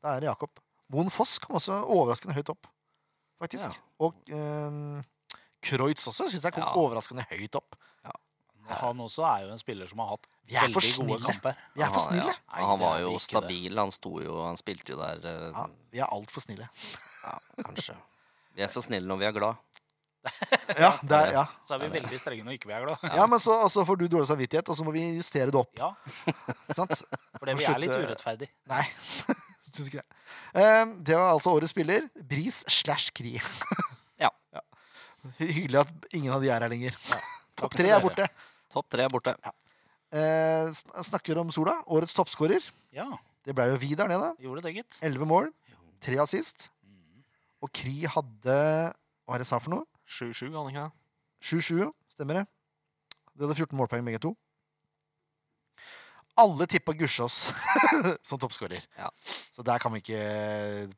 da er det Jakob. Moen Foss kom også overraskende høyt opp, faktisk. Ja. Og eh, Kreutz også syns jeg kom Ja. overraskende høyt opp. Han også er jo en spiller som har hatt Vi er for veldig gode snille. kamper. Vi er for Han- ja. snille. Ja, han Nei, var det er vi jo ikke, det. stabil. Han sto jo Han spilte jo der, eh, Ja, vi er altfor [LAUGHS] snille. ja, kanskje. Vi er for snille når vi er glad. Ja, det er, ja. Så er vi veldig strenge når ikke vi er glad. ja men så og så får du dårlig samvittighet, og så må vi justere det opp. Ja, Ikke [LAUGHS] sant? fordi Må vi er litt slutte- urettferdig. Nei. [LAUGHS] Syns ikke det. Ehm, det var altså årets spiller. Bris slash Kri. [LAUGHS] Ja. Hyggelig at ingen av de er her lenger. [LAUGHS] Topp Takk tre er for dere. borte. Topp tre er borte. Eh, sn- snakker om Sola. Årets toppskårer. Ja, Det ble jo vi der nede. gjorde det, gitt. Elleve mål. Tre assist. Mm. Og Kri hadde Hva er det jeg sa for noe? 7-7, han ikke det? 7-7, stemmer det? De hadde 14 målpoeng begge to. Alle tippa Gussiås [LAUGHS] som toppskårer. Ja. Så der kan vi ikke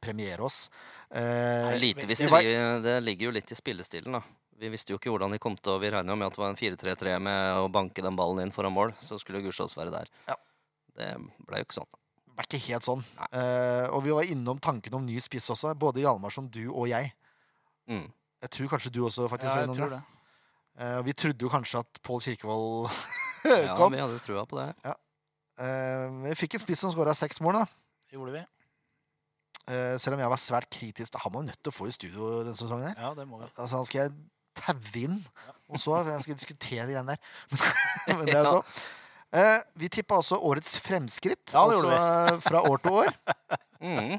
premiere oss. Eh, Nei, Lite visste det var- vi, det ligger jo litt i spillestilen, da. Vi visste jo ikke hvordan de kom til, og vi regna jo med at det var en 4-3-3 med å banke den ballen inn foran mål. Så skulle Gussiås være der. Ja. Det ble jo ikke sånn. det er ikke helt sånn. Eh, og vi var innom tanken om ny spiss også, både Hjalmar som du og jeg. Mm. Jeg tror kanskje du også faktisk Ja, var jeg innom tror det. det. Eh, vi trodde jo kanskje at Pål Kirkevold [LAUGHS] Ja, [LAUGHS] kom. vi hadde jo trua på det. Eh, men vi fikk en spiss som skåra seks mål, da. Gjorde vi. Eh, selv om jeg var svært kritisk. da, Han var jo nødt til å få i studio denne sesongen. her. Ja, det må vi. Altså, han skal jeg taue inn, og så jeg skal jeg diskutere de greiene der. [LAUGHS] Men [LAUGHS] det er så. Eh, vi tippa også årets fremskritt, Ja, det altså eh, fra år til år. [LAUGHS] Mm.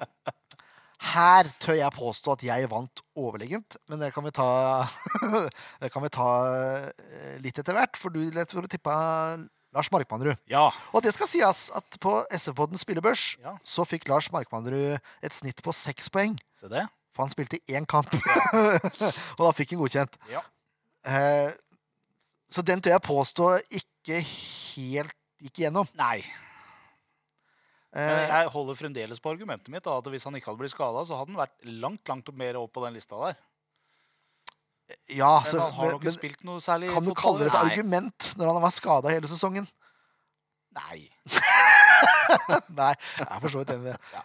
Her tør jeg påstå at jeg vant overlegent, men det kan vi ta, [LAUGHS] det kan vi ta eh, litt etter hvert, for du lett for å tippa Lars Markmannrud. Ja, Og det skal sies at på SV-podden spillebørs Ja. så fikk Lars Markmannrud et snitt på seks poeng. se det. For han spilte én kamp, [LAUGHS] og da fikk han godkjent. Ja. Eh, så den tør jeg påstå ikke helt gikk igjennom. Nei. Men Eh, Jeg holder fremdeles på argumentet mitt, da, at hvis han ikke hadde blitt skada, så hadde han vært langt langt mer opp på den lista der. ja, eh, Men så, han Altså, men, har nok ikke men spilt noe særlig kan du fotball. kalle det et Nei. argument når han har vært skada hele sesongen? [LAUGHS] Nei. Nei, jeg er for så vidt enig i det. Ja.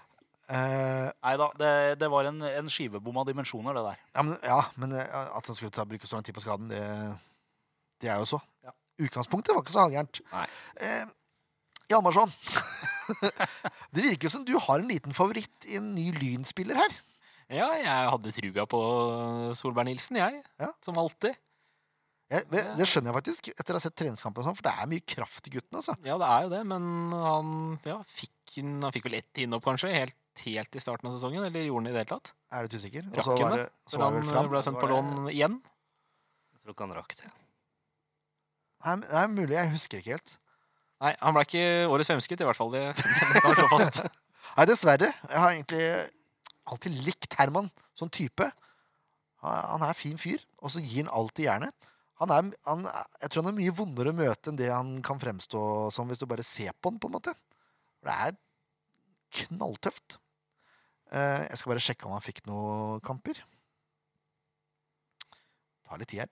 Eh, Nei da, det, det var en, en skivebom av dimensjoner, det der. ja, men, ja, men eh, at han skulle ta, bruke så lang tid på skaden, det, det er jo så. Ja. Utgangspunktet var ikke så halvgærent. Nei. Eh, Hjalmarsson, [LAUGHS] det virker som du har en liten favoritt i en ny lynspiller her. Ja, jeg hadde trua på Solberg Nilsen, jeg. Ja. Som alltid. Jeg, det, det skjønner jeg faktisk, etter å ha sett treningskampen, og sånn, for det er mye kraft i gutten. altså. Ja, det er jo det, men han ja, fikk, en- han fikk vel ett innhopp, kanskje, helt, helt i starten av sesongen? Eller gjorde han det i det hele tatt? Er du litt usikker? Og så Rakk var han det, det? så var Før det han vel fram. ble sendt på lån igjen? Jeg tror ikke han rakk det. Nei, men- Det er mulig, jeg husker ikke helt. Nei, han ble ikke årets fremskritt, i hvert fall. Det, [LAUGHS] det kan vi slå [LAUGHS] fast. Nei, dessverre. Jeg har egentlig alltid likt Herman som type. Han han er fin fyr, og så gir han alltid jernet. Han er, han, er- jeg tror han er mye vondere å møte enn det han kan fremstå som hvis du bare ser på han, på en måte. For det er knalltøft. Eh, Jeg skal bare sjekke om han fikk noen kamper. Tar litt tid her.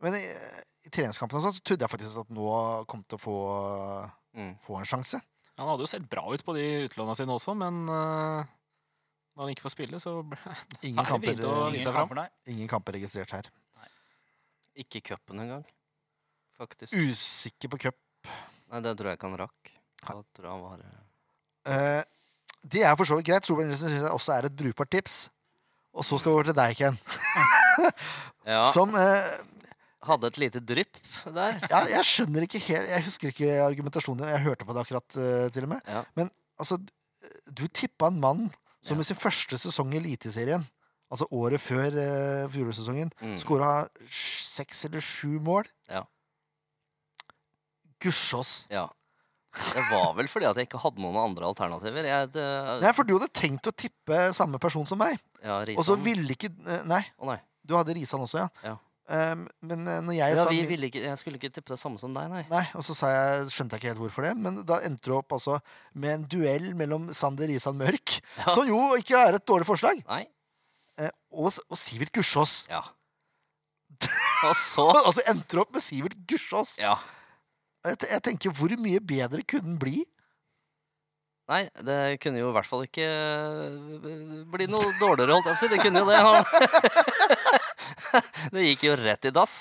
Men i, i treningskampen og sånn, så trodde jeg faktisk at nå kom til å få, Mm. få en sjanse. Han hadde jo sett bra ut på de utlåna sine også, men eh, når han ikke får spille, så ble- Ingen Herlig kamper, vridd å ingen, vise. seg fram. nei. ingen kamper registrert her. Ikke i cupen engang, faktisk. Usikker på cup. Nei, det tror jeg ikke han rakk. Da tror jeg han var eh, Eh, det er for så vidt greit. Solberg Nilsen syns jeg også er et brukbart tips. Og så skal vi over til deg, Ken. Ja, Som eh, hadde et lite drypp der. [LAUGHS] ja, Jeg skjønner ikke helt Jeg husker ikke argumentasjonen din. Jeg hørte på det akkurat, eh, til og med. Ja. Men altså, du tippa en mann som Ja. i sin første sesong i Eliteserien, altså året før uh, fjorårssesongen, Mm. skåra seks eller sju mål. Ja. Gussiås. Ja. Det var vel fordi at jeg ikke hadde noen andre alternativer. Jeg, det, Nei, for du hadde tenkt å tippe samme person som meg, ja, og så Risan. ville ikke eh, Nei. Å nei. Du hadde Risan også, ja. Ja. Ehm, men eh, når jeg Ja, sa sånn vi min- ville ikke, jeg skulle ikke tippe det samme som deg, nei. Nei, og så sa jeg, skjønte jeg ikke helt hvorfor det, men da endte det opp altså med en duell mellom Sander Risan Mørk, [LAUGHS] Ja. som jo ikke er et dårlig forslag, Nei? eh, og, og Sivert Gussiås. Ja. [LAUGHS] Og så [LAUGHS] Og så Altså, endte det opp med Sivert Gussiås. Ja. Jeg, te- jeg tenker, hvor mye bedre kunne den bli? Nei, det kunne jo i hvert fall ikke eh, bli noe dårligere, holdt jeg på å si. Det kunne jo det. Han. [LAUGHS] Det gikk jo rett i dass.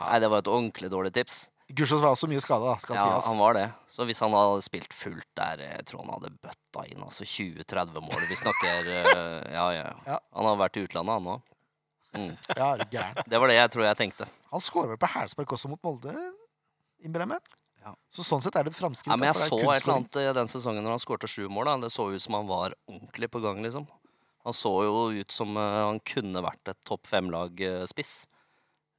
Nei, det var et ordentlig dårlig tips. Gulsås var også mye skada, skal Ja, sies. han var det. Så hvis han hadde spilt fullt der, eh, tror han hadde bøtta inn altså 20-30 mål. Vi snakker eh, Ja, ja. Ja. Han har vært i utlandet, han òg. Mm. Ja, er du gæren. Det var det jeg tror jeg tenkte. Han skårer vel på hælspark også mot Molde, innbiller jeg meg. Ja. Så sånn sett er det et framskritt. Ja, men da, jeg for det er så et kun eller scoring. annet eh, den sesongen når han skårte sju mål. Da. Det så ut som han var ordentlig på gang, liksom. Han så jo ut som eh, han kunne vært et topp fem-lag-spiss.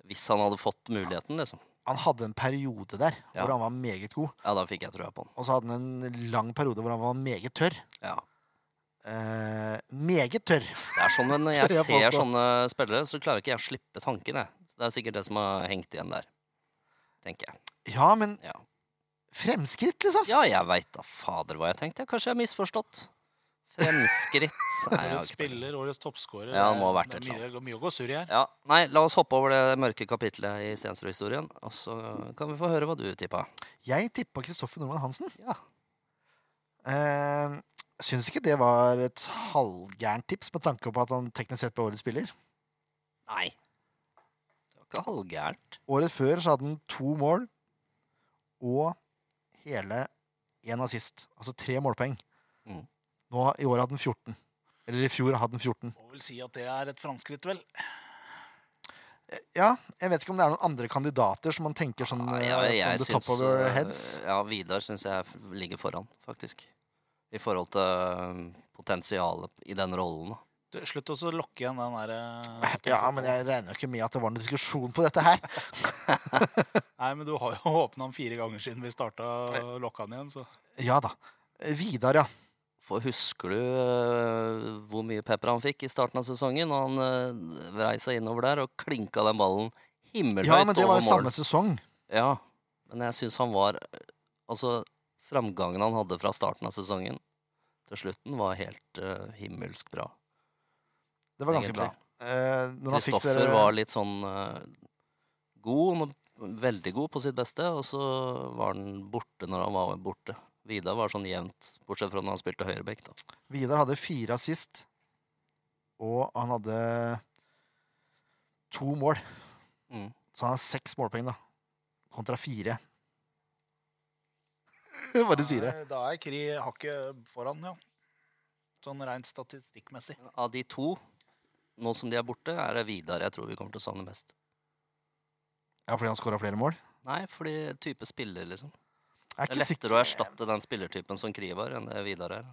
Hvis han hadde fått muligheten, liksom. Han hadde en periode der Ja. hvor han var meget god, Ja, da fikk jeg trua på han. og så hadde han en lang periode hvor han var meget tørr. Ja. Eh, meget tørr. Det er sånn [LAUGHS] Når Tør jeg jeg ser påstå. sånne spillere, så klarer ikke jeg å slippe tanken. Jeg. Så det er sikkert det som har hengt igjen der. Tenker jeg. Ja, men Ja. fremskritt, liksom. Ja, jeg veit da fader hva jeg tenkte. Kanskje jeg har misforstått. Fremskritt. Nei, jeg har Årets ikke peiling. spiller, årets eh, toppskårer. Ja, det må ha vært Det et er mye, mye å gå surr i her. Ja, nei, La oss hoppe over det mørke kapitlet i Stensrud-historien, og så kan vi få høre hva du tippa. Jeg tippa Kristoffer Nordmann Hansen. Ja. Eh, syns ikke det var et halvgærent tips med tanke på at han teknisk sett ble årets spiller. Nei. Det var ikke halvgærent. Året før så hadde han to mål og hele én assist. Altså tre målpoeng. Mm. Nå, I år hadde han 14. Eller i fjor hadde han 14. Må vel si at det er et framskritt, vel. Ja, jeg vet ikke om det er noen andre kandidater som man tenker sånn Nei, eh, jeg- jeg from the syns, top of our eh, heads. Ja, Vidar syns jeg f- ligger foran, faktisk. I forhold til eh, potensialet i den rollen. da. Du, slutt også å lokke igjen den eh, derre [LAUGHS] Ja, men jeg regner jo ikke med at det var noen diskusjon på dette her. Nei, men du har jo [LAUGHS] åpna den fire ganger siden vi starta og lokka den igjen, så Ja da. Vidar, ja. For husker du eh, hvor mye pepper han fikk i starten av sesongen? Og han eh, vrei seg innover der og klinka den ballen himmelhøyt Ja, men det var over jo mål. samme sesong. Ja, men jeg syns han var Altså, framgangen han hadde fra starten av sesongen til slutten, var helt eh, himmelsk bra. Det var ganske egentlig. bra. Eh, når han fikk Kristoffer dere- var litt sånn eh, god, nå- veldig god på sitt beste, og så var han borte når han var borte. Vidar var sånn jevnt, bortsett fra når han spilte høyrebekk, da. Vidar hadde fire assist, og han hadde to mål. Mm. Så han har seks målpoeng, da. Kontra fire. [LAUGHS] Bare sier det. Nei, Da er Kri hakket foran, ja. Sånn rent statistikkmessig. Men av de to, nå som de er borte, er det Vidar jeg tror vi kommer til å savne mest. Ja, fordi han scora flere mål. Nei, fordi type spiller, liksom. Jeg Det er lettere å erstatte den spillertypen som Kri var, enn det Vidar er.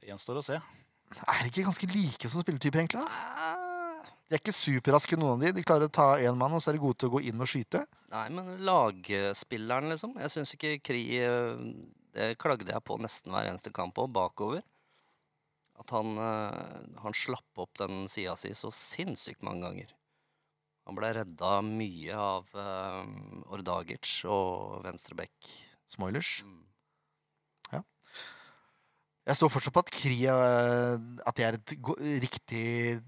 Det gjenstår å se. Er de ikke ganske like som spilletyper, egentlig? da? Ah. De er ikke superraske, noen av de. De klarer å ta én mann, og så er de gode til å gå inn og skyte. Nei, men lagspilleren, liksom. Jeg syns ikke Kri eh, Det klagde jeg på nesten hver eneste kamp òg, bakover. At han, eh, han slapp opp den sida si så sinnssykt mange ganger. Han ble redda mye av eh, Ordagic og Venstrebekk. Smoilers. Mm. Jeg står fortsatt på at Kri øh, At det er et go riktig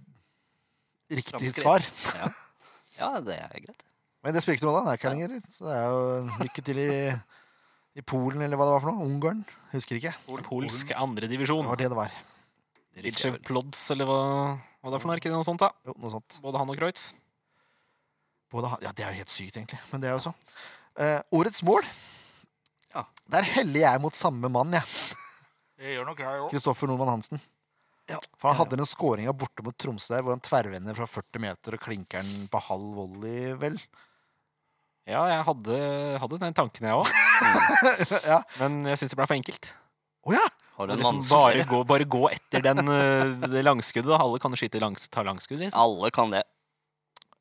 Riktig Framskritt. svar. Ja. ja, det er greit. Men det spiller ikke noe rolle, han er ikke her lenger. Så det er jo lykke til i, i Polen, eller hva det var for noe. Ungarn. Husker ikke. Polsk Det andredivisjon. var det det var. Det rykker Richard jeg vel. Plods, eller hva, hva det er for noe? Er ikke det noe sånt, da? Jo, noe sånt. Både han og Kreutz. Både, han- ja, det er jo helt sykt, egentlig. Men det er jo så. Eh, årets mål. Ja. Der heller jeg mot samme mann, jeg. Det gjør nok jeg òg. Kristoffer Nordmann Hansen. Ja. For han Ja, ja. hadde den skåringa borte mot Tromsø der, hvor han tverrvender fra 40 meter og klinker den på halv volley, vel. Ja, jeg hadde, hadde den tanken, jeg òg. [LAUGHS] Ja. Men jeg syns det ble for enkelt. Å ja! Har du en Liksom bare, vanskeligere? gå, bare gå etter den, eh, det langskuddet. Da. Alle kan jo skyte langs, ta langskudd. Liksom. Alle kan det.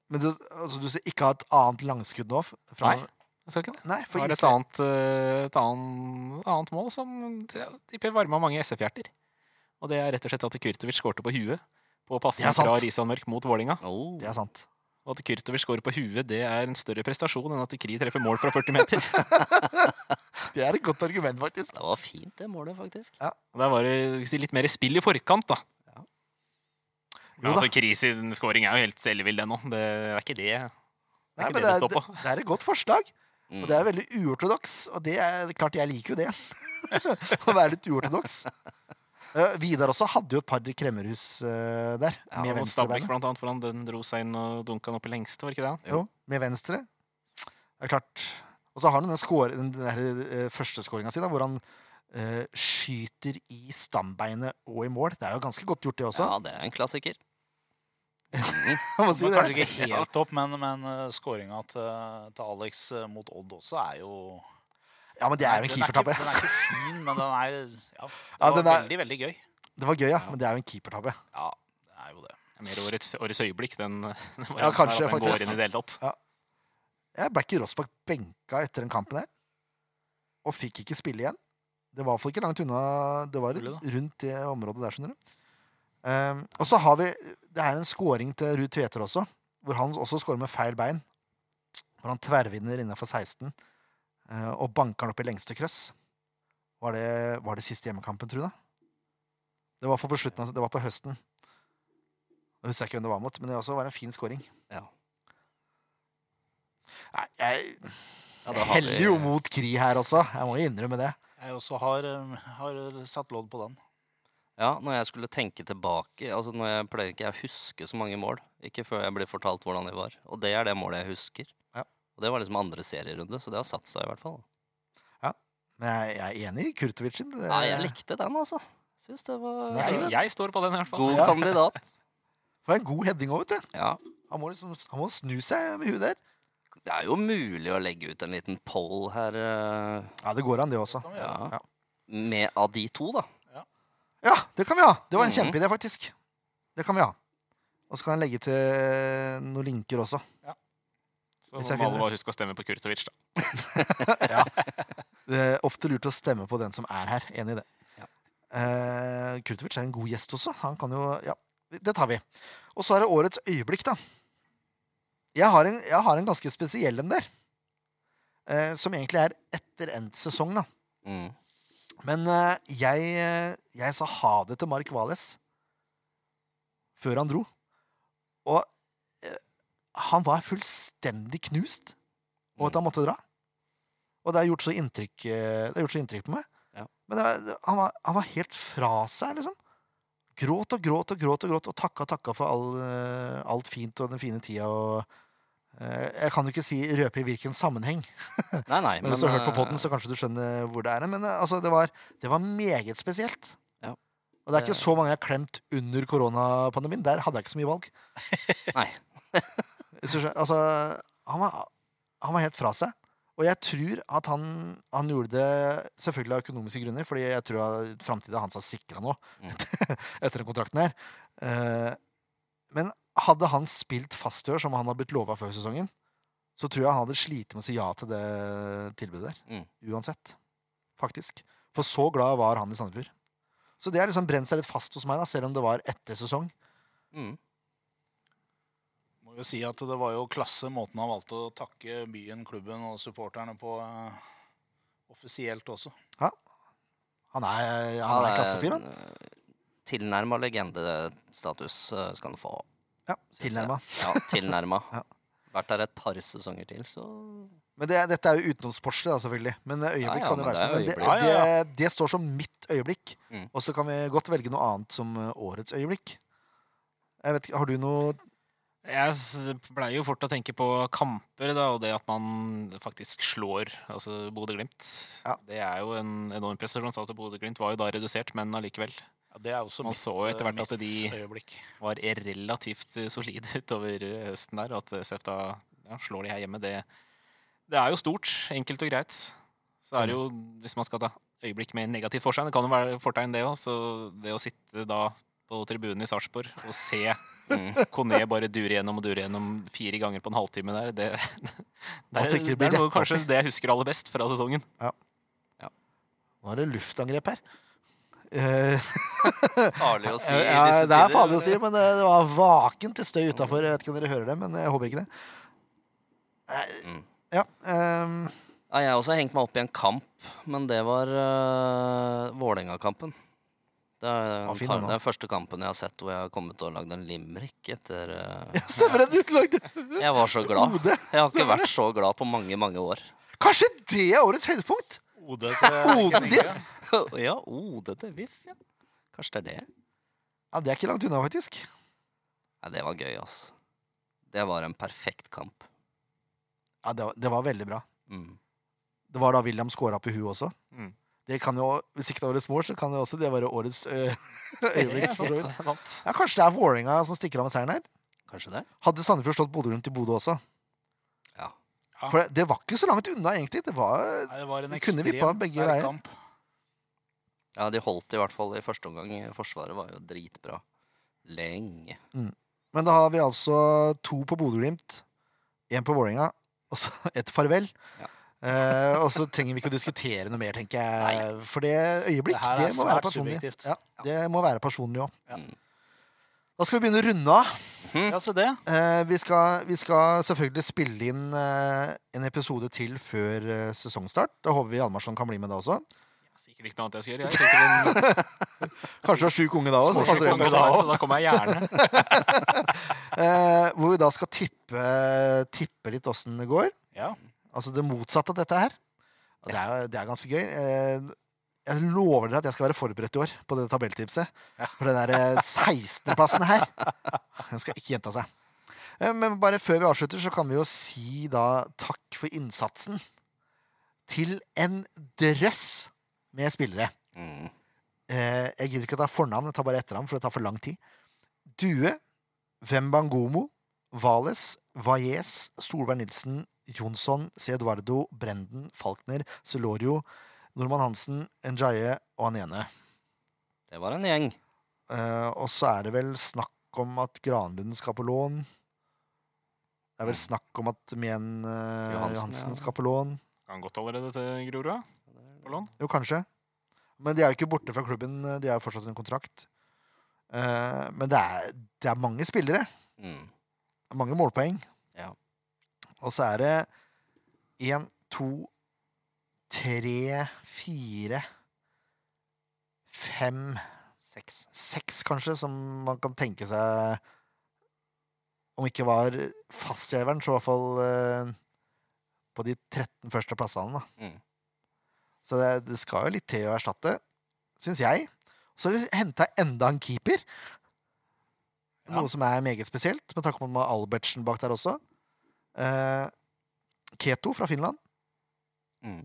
Men du, altså, du ser ikke ha et annet langskudd nå? f- Fra, Nei. Jeg skal ikke det. Nei, for Har et Island- annet, eh, et annet, annet mål som ja, tipper varma mange SF-hjerter. Og det er rett og slett at Kurtovic skårte på huet på Det er pasning sant. fra Risan Mørk mot Vålinga. Oh. Det er sant. Og at Kurtovic skårer på huet, det er en større prestasjon enn at Kri treffer mål fra 40 [LAUGHS] meter. Det er et godt argument, faktisk. Det var fint, det målet, faktisk. Og Der var det skal vi si, litt mer spill i forkant, da. Ja. Jo Men altså, Kris sin scoring er jo helt ellevill, den òg. Det er ikke det det, er Nei, ikke men det det det er, står det, på. det er et godt forslag, Mm. og det er veldig uortodoks. Og det er klart, jeg liker jo det. [LAUGHS] Å være litt uortodoks. Eh, Vidar også hadde jo et par kremmerhus eh, der, Ja, med og Stabæk venstrebeinet. blant annet, for han den dro seg inn og dunka han opp i lengste, var ikke det? Jo, med venstre. Det er klart. Og så har han den, score, den der, eh, første skåringa si, da, hvor han eh, skyter i stambeinet og i mål. Det er jo ganske godt gjort, det også. Mm. Ja, det er en klassiker. [LAUGHS] Jeg må si Kommer det. kanskje ikke helt opp, men, men eh, scoringa til, til Alex eh, mot Odd også er jo Ja, men det er jo en Den ikke- keepertabbe. Den er ikke [LAUGHS] fin, men den er Ja, det Ja, var den er- veldig, veldig gøy. Det var gøy, ja, men det er jo en keepertabbe. Ja, det er jo det. Det er Mer årets, årets øyeblikk, den, [LAUGHS] den Ja, kanskje, at den faktisk. går inn i det hele tatt. Jeg ble ikke Rossbakk benka etter den kampen her, og fikk ikke spille igjen. Det var i hvert fall ikke langt unna. Det var Mulig, rundt det området der, skjønner du. Ehm, og så har vi Det er en scoring til Ruud Tveter også, hvor han også scorer med feil bein. Hvor han tverrvinner innenfor 16 eh, og banker han opp i lengste krøss. Var det, var det siste hjemmekampen, tror du? da? Det var, for på slutten, av- det var på høsten. Jeg husker ikke hvem det var mot, men det også var en fin scoring. Ja. Nei, jeg Ja, da jeg har heller vi- jo mot Kri her også. Jeg må jo innrømme det. Jeg også har, eh, har satt lodd på den. Ja, når jeg skulle tenke tilbake altså når Jeg pleier ikke jeg å huske så mange mål. Ikke før jeg blir fortalt hvordan de var. Og det er det målet jeg husker. Ja. Og det var liksom andre serierunde, så det har satt seg i hvert fall. Men jeg, jeg er enig i Kurtovic sin. Nei, jeg likte den, altså. Syns det var Nei, Jeg, det- jeg står på den i hvert fall. god Ja. kandidat. For det er en god heading òg, vet du. Ja. Han må, liksom, han må snu seg med huet der. Det er jo mulig å legge ut en liten poll her eh, Ja, det går an, det også. Kan vi gjøre. ja. Ja. med av de to, da. Ja, det kan vi ha! Det var en Mhm. kjempeidé, faktisk. Det kan vi ha. Og så kan jeg legge til noen linker også. Så Hvis må jeg alle finner- bare huske å stemme på Kurtovic, da. Det er ofte lurt å stemme på den som er her. Enig i det. Ja. Eh, Kurtovic er en god gjest også. Han kan jo Ja, det tar vi. Og så er det årets øyeblikk, da. Jeg har en, jeg har en ganske spesiell en der. Eh, som egentlig er etter endt sesong, da. Mm. Men eh, jeg, eh, jeg sa ha det til Mark Vales før han dro. Og eh, han var fullstendig knust over at han måtte dra. Og det har gjort så inntrykk, eh, det har gjort så inntrykk på meg. Ja. Men det, var- det- han, var, han var helt fra seg, liksom. Gråt og gråt og gråt og gråt og takka takka for all, eh, alt fint og den fine tida. og eh, jeg kan jo ikke si røpe i hvilken sammenheng, Nei, nei, men hvis du har hørt på podden, eh, så kanskje du skjønner hvor det er. Men eh, altså, det var, det var meget spesielt. Ja. Og det er Det- ikke så mange jeg har klemt under koronapandemien. Der hadde jeg ikke så [LAUGHS] mye valg. Nei. Hvis du skjønner, altså, han var, han var helt fra seg. Og jeg tror at han, han gjorde det selvfølgelig av økonomiske grunner, fordi jeg tror at framtida hans er sikra nå, Mm. [LAUGHS] etter den kontrakten her. Eh, Men hadde han spilt fast i år, som han har blitt lova før sesongen, så tror jeg han hadde slitt med å si ja til det tilbudet der. Mm. Uansett. Faktisk. For så glad var han i Sandefjord. Så det har liksom brent seg litt fast hos meg, da, selv om det var etter sesong. mm. Må jo si at det var jo klasse måten han valgte å takke byen, klubben og supporterne på eh, offisielt også. Han er, han Ja, er det klassefyr, han. Tilnærma eh, legendestatus eh, skal han få. Ja, synes jeg. tilnærma. Ja, tilnærma. [LAUGHS] Ja. Vært der et par sesonger til, så Men det, dette er jo utenomsportslig, da, selvfølgelig. Men øyeblikk Ja, ja, kan jo men være det er sånn. Men det, øyeblikk. Ja, ja, Det, det står som mitt øyeblikk. Mm. Og så kan vi godt velge noe annet som eh, årets øyeblikk. Jeg vet ikke, Har du noe Jeg s- pleier jo fort å tenke på kamper, da, og det at man faktisk slår altså Bodø-Glimt. Ja. Det er jo en enorm prestasjon. Så altså, Bodø-Glimt var jo da redusert, men allikevel Ja, det er også Man mitt, så jo etter eh, hvert at mitt de- øyeblikk. var relativt eh, solide [LAUGHS] utover eh, høsten der. og At eh, SF da ja, slår de her hjemme, det, det er jo stort. Enkelt og greit. Så er det jo, hvis man skal ta øyeblikk med negativt fortegn, det kan jo være fortegn det òg, så det å sitte da på tribunen i Sarpsborg og se mm. Kone bare durer gjennom og durer gjennom fire ganger på en halvtime der. Det, [LAUGHS] det, Nå er, tenker det jeg det er blir noe, rett kanskje det jeg husker aller best fra sesongen. Nå er det luftangrep her. Eh, Farlig å si i ja, disse tider. det er farlig å si, men eh, det var vakent til støy utafor. Jeg vet ikke om dere hører det, men jeg håper ikke det. Eh, Mm. Ja, ehm, [LAUGHS] Ja, jeg har også hengt meg opp i en kamp, men det var uh, Vålerenga-kampen. Det er, Ja, den fin tar- den da. det er første kampen jeg har sett hvor jeg har kommet og lagd en limerick etter eh, Stemmer det! Du lagde Jeg var [LAUGHS] så glad. Ode. Jeg har ikke vært så glad på mange, mange år. [LAUGHS] Kanskje det er årets høydepunkt? [LAUGHS] Ode til Oden din? ja, Ode til VIF, ja. Kanskje det er det? Ja, Det er ikke langt unna, faktisk. Nei, det var gøy, ass. Det var en perfekt kamp. Ja, det, var- det var veldig bra. Mm. Det var da William scora på huet også. Mm. Det kan jo, Hvis ikke det er årets mål, så kan det også det være årets øh, [LAUGHS] øyeblikk. for så vidt. sant. Ja, Kanskje det er Vålerenga som stikker av med seieren her. Kanskje det? Hadde Sandefjord slått Bodø Glimt i Bodø også. Ja. Ja. For det, det var ikke så langt unna, egentlig. Det var, Nei, det var en Det kunne ekstremt vippa begge sterk veier. kamp. Ja, de holdt i hvert fall i første omgang. Forsvaret var jo dritbra. Lenge. men da har vi altså to på Bodø-Glimt, én på Vålerenga, og så [LAUGHS] ett farvel. Ja. Eh, og så trenger vi ikke å diskutere noe mer, tenker jeg. For det øyeblikk, Det her er det, må være svært personlig. subjektivt. Ja, det må være personlig òg. Ja. Da skal vi begynne å runde av. Ja, se det. Eh, vi, skal, vi skal selvfølgelig spille inn eh, en episode til før eh, sesongstart. Da håper vi Hjalmarsson kan bli med da også. Sikkert ikke noe annet jeg skal gjøre. Jeg sikkert en Kanskje du har sjuk unge da òg. sportslig konge da også, så da kommer jeg gjerne. Eh, hvor vi da skal tippe, tippe litt åssen det går. Ja. Altså det motsatte av dette her. Og Det er, jo- det er ganske gøy. Eh, jeg lover dere at jeg skal være forberedt i år på det tabelltipset. For den der 16.-plassen her, den skal ikke gjenta seg. Eh, Men bare før vi avslutter, så kan vi jo si da takk for innsatsen til en drøss med spillere. Mm. Eh, jeg gidder ikke å ta fornavn, jeg tar bare etternavn, for det tar for lang tid. Due, Wembangomo, Vales, Valles, Solveig Nilsen, Jonsson, C. Eduardo, Brenden, Falkner, Celorio, Normann Hansen, Njaye og han ene. Det var en gjeng. Eh, og så er det vel snakk om at Granlund skal på lån. Det er vel snakk om at Mien eh, Johansen, Johansen, ja. skal på lån. Kan godt allerede til Grorud. På lån. Jo, kanskje. Men de er jo ikke borte fra klubben. De er jo fortsatt under kontrakt. Eh, men det er, det er mange spillere. Mm. Mange målpoeng. Ja. Og så er det én, to, tre, fire Fem, Seks. seks, kanskje, som man kan tenke seg Om ikke var fastgjeveren, så i hvert fall eh, på de 13 første plassene. Da. Mm. Så det, det skal jo litt til å erstatte, syns jeg. Så har de henta enda en keeper. Ja. Noe som er meget spesielt, med tanke på at man har Albertsen bak der også. Eh, Keto fra Finland. Mm.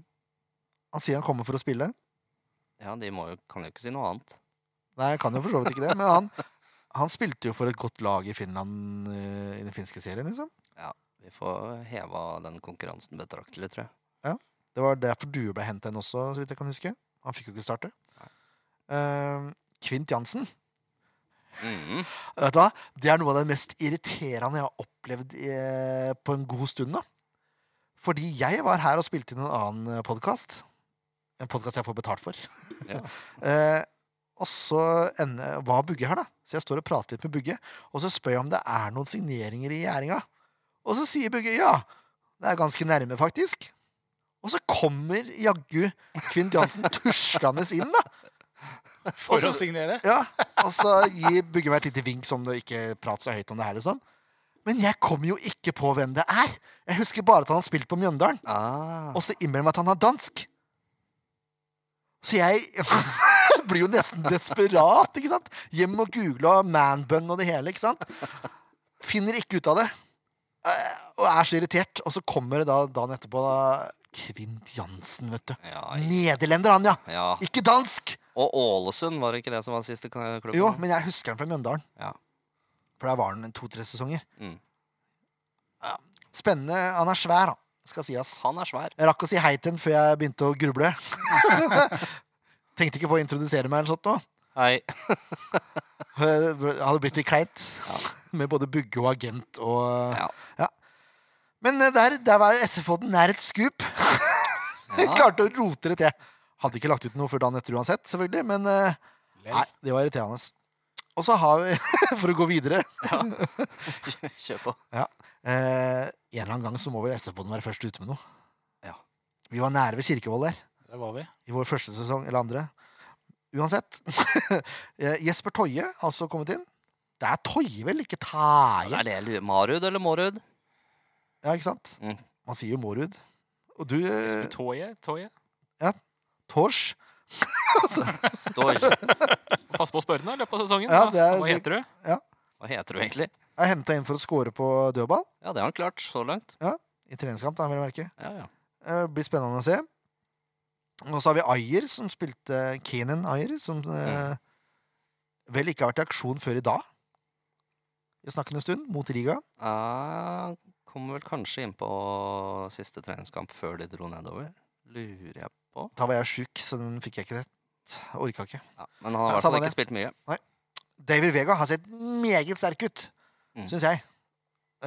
Han sier han kommer for å spille. Ja, de må jo, kan jo ikke si noe annet. Nei, jeg kan jo for så vidt ikke det, men han, han spilte jo for et godt lag i Finland eh, i den finske serien, liksom. Vi får heva den konkurransen betraktelig, tror jeg. Det var derfor du ble hentet inn også, så vidt jeg kan huske. Han fikk jo ikke starte. Eh, Kvint Jansen. Mm. Vet du hva? Det er noe av det mest irriterende jeg har opplevd eh, på en god stund. da. Fordi jeg var her og spilte inn en annen podkast. En podkast jeg får betalt for. Ja. [LAUGHS] eh, og så ender, var Bugge her, da. Så jeg står og prater litt med Bugge. Og så spør jeg om det er noen signeringer i gjæringa. Og så sier Bugge ja. Det er ganske nærme, faktisk. Og så kommer jaggu Kvint Jansen tuslende inn, da. Og For så- å signere. ja, og så gi Bugge meg et lite vink som det ikke prater så høyt om det her, liksom. Men jeg kommer jo ikke på hvem det er. Jeg husker bare at han har spilt på Mjøndalen, Ah. og så innbiller jeg meg at han er dansk. Så jeg [LAUGHS] blir jo nesten desperat, ikke sant? Hjem og google og manbun og det hele, ikke sant? Finner ikke ut av det. Eh, Og er så irritert. Og så kommer det da dagen etterpå da, Kvint Jansen, vet du. Ja, Nederlender, han, ja. ja. Ikke dansk! Og Ålesund, var det ikke det som var siste kla- klubben? Jo, men jeg husker han fra Mjøndalen. Ja. For der var han en to-tre sesonger. Mm. Ja. Spennende. Han er svær, da. Skal sies. Han er svær. Jeg rakk å si hei til han før jeg begynte å gruble. [LAUGHS] Tenkte ikke på å introdusere meg eller sånt nå. Hei. Eh, Det hadde blitt litt kleint. Med både Bugge og agent og [LAUGHS] Ja. Men eh, der, der var SF-podden nær et skup. [LAUGHS] Vi Ja. Klarte å rote det til. Hadde ikke lagt ut noe før dagen etter uansett, selvfølgelig, men eh, Nei, det var irriterende. Og så har vi, [LAUGHS] for å gå videre Kjør på. Eh, en eller annen gang så må vel SV-podden være først ute med noe. Ja. Vi var nære ved Kirkevold der, Der var vi. i vår første sesong, eller andre. Uansett. [LAUGHS] Eh, Jesper Toje har også kommet inn. Det er Toje, vel? Ikke Ja, Taje? det er det jeg lurer- Marud eller Mårud? Ja, ikke sant? Mm. Man sier jo Morud. Og du, eh, Toje, toje. Tors. [LAUGHS] Doj. Pass på å spørre den i løpet av sesongen. Ja, da. det er- Hva heter du? Hva heter du egentlig? er henta inn for å score på dødball. Ja, det har han klart så langt. I treningskamp, da, vil jeg merke. Ja, ja. Eh, blir spennende å se. Og så har vi Ayer, som spilte Kenan Ayer, som eh, vel ikke har vært i aksjon før i dag. I snakkende stund, mot Riga. Jeg kom vel kanskje inn på siste treningskamp før de dro nedover. Lurer jeg på. Da var jeg sjuk, så den fikk jeg ikke sett. Orka ikke. Ja, men han har Ja, i hvert fall samme ikke det. spilt mye. David Vega har sett meget sterk ut, Mm. syns jeg.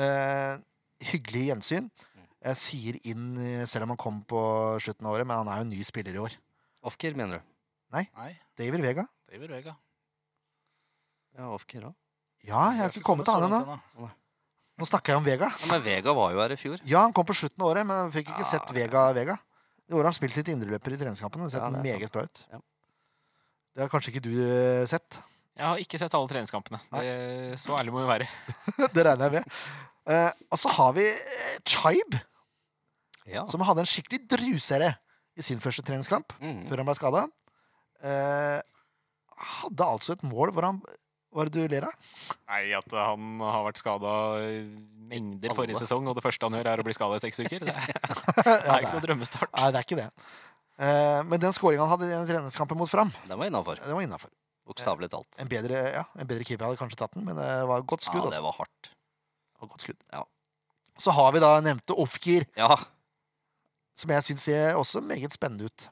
Eh, hyggelig gjensyn. Jeg sier inn eh, selv om han kom på slutten av året, men han er jo en ny spiller i år. Ofker, mener du? Nei, David Vega? David Vega. Ja, Ofker òg. Ja, jeg har ikke kommet til han ennå. Nå snakker jeg om Vega. Ja, men Vega var jo her i fjor. Ja, han kom på slutten av året, men han fikk ikke Ja. sett Vega Vega. I år har han spilt litt indreløper i treningskampene. Det har sett Ja, det er meget bra ut. Ja. Det har kanskje ikke du eh, sett. [LAUGHS] Jeg har ikke sett alle treningskampene. Det, så ærlig må vi være. det regner jeg med. Eh, og så har vi eh, Chaib, Ja. som hadde en skikkelig drusere i sin første treningskamp. Mhm. før han ble skada. Eh, hadde altså et mål hvor han Hva er det du ler av? Nei, at han har vært skada mengder forrige Alle. sesong, og det første han gjør, er å bli skada i seks uker. [LAUGHS] Det er, Ja, ikke det noe er- drømmestart. Nei, det er ikke det. Eh, men den skåringa han hadde i den treningskampen mot Fram, Den var innafor. det var innafor. Bokstavelig talt. En, bedre- ja, en bedre keeper hadde kanskje tatt den, men det var et godt Eh, skudd. Ja, altså. det var hardt. Det var et godt skudd. Ja. Så har vi da nevnte Ofkir, Ja. som jeg syns ser også meget spennende ut.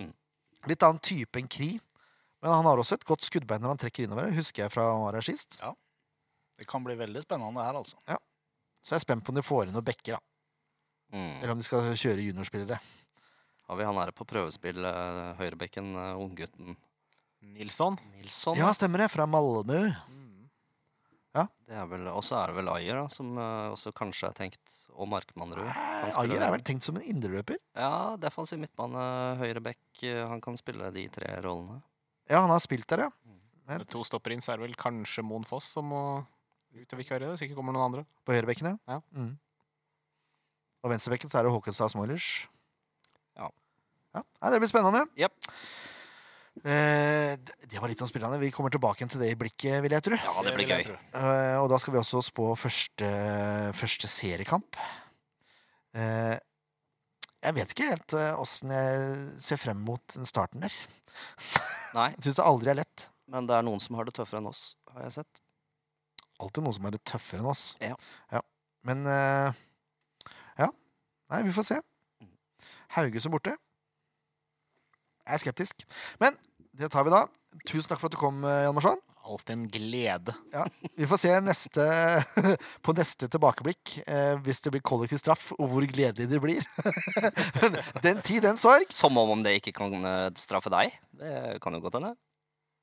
Mm. Litt annen type enn Kri, men han har også et godt skuddbein når han trekker innover. det Husker jeg fra han var her sist. Det kan bli veldig spennende her, altså. Så jeg er spent på om de får inn noen bekker, da. Mm. eller om de skal kjøre juniorspillere. Har vi han her på prøvespill, eh, høyrebekken, eh, unggutten Nilsson. Nilsson? Ja, stemmer det. Fra Malmö. Det er vel, og så er det vel Ayer, da, som eh, også kanskje er tenkt. Og Markmannrud. Han spiller Eh, Ayer der. er vel tenkt som en indreløper? Ja, defensiv midtbane, høyrebekk. eh, Han kan spille de tre rollene. Ja, han har spilt der, ja. Med To stopper inn, så er det vel kanskje Moen Foss som må ut og vikariere. Hvis ikke kommer noen andre. På høyrebekken, ja. Ja. Mm. Og venstrebekken så er det Håkenstad Smoilers. Ja. ja. Nei, det blir spennende. Jep. Eh, det- det var litt om spillerne. Vi kommer tilbake igjen til det i blikket, vil jeg tro. Ja, det blir vil jeg gøy. tro. Eh, og da skal vi også spå første, første seriekamp. Eh, jeg vet ikke helt eh, åssen jeg ser frem mot den starten der. Nei, Jeg syns det aldri er lett. men det er noen som har det tøffere enn oss, har jeg sett. alltid noen som er litt tøffere enn oss. Ja. Men eh, Ja. Nei, vi får se. Haugesund borte. Jeg er skeptisk. Men det tar vi da. Tusen takk for at du kom, eh, Jan Marsson. Alltid en glede. Vi får se neste, [LAUGHS] på neste tilbakeblikk eh, hvis det blir kollektiv straff, og hvor gledelig det blir. [LAUGHS] Men den tid, den sorg. Som om det ikke kan eh, straffe deg. Det kan jo godt hende.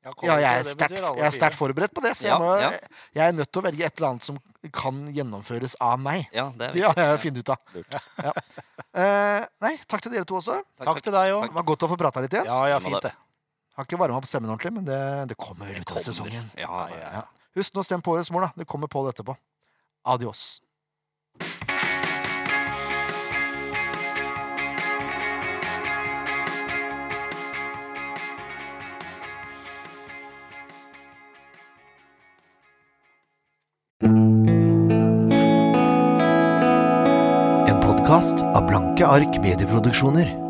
Ja, jeg er sterkt jeg er sterkt forberedt på det, så Ja, jeg, må, ja. jeg er nødt til å velge et eller annet som kan gjennomføres av meg. Ja, det [LAUGHS] Det er viktig. har jeg funnet ut av. Ja. Eh, nei, takk til dere to også. Takk til deg òg. Det var godt å få prata litt igjen. Ja, ja, fint det. Har ikke varma opp stemmen ordentlig, men det, det kommer vel ut av sesongen. Ja, ja. Ja. Husk nå å stemme på årets mål, da. Det kommer på etterpå. Adios. En podkast av Blanke ark medieproduksjoner.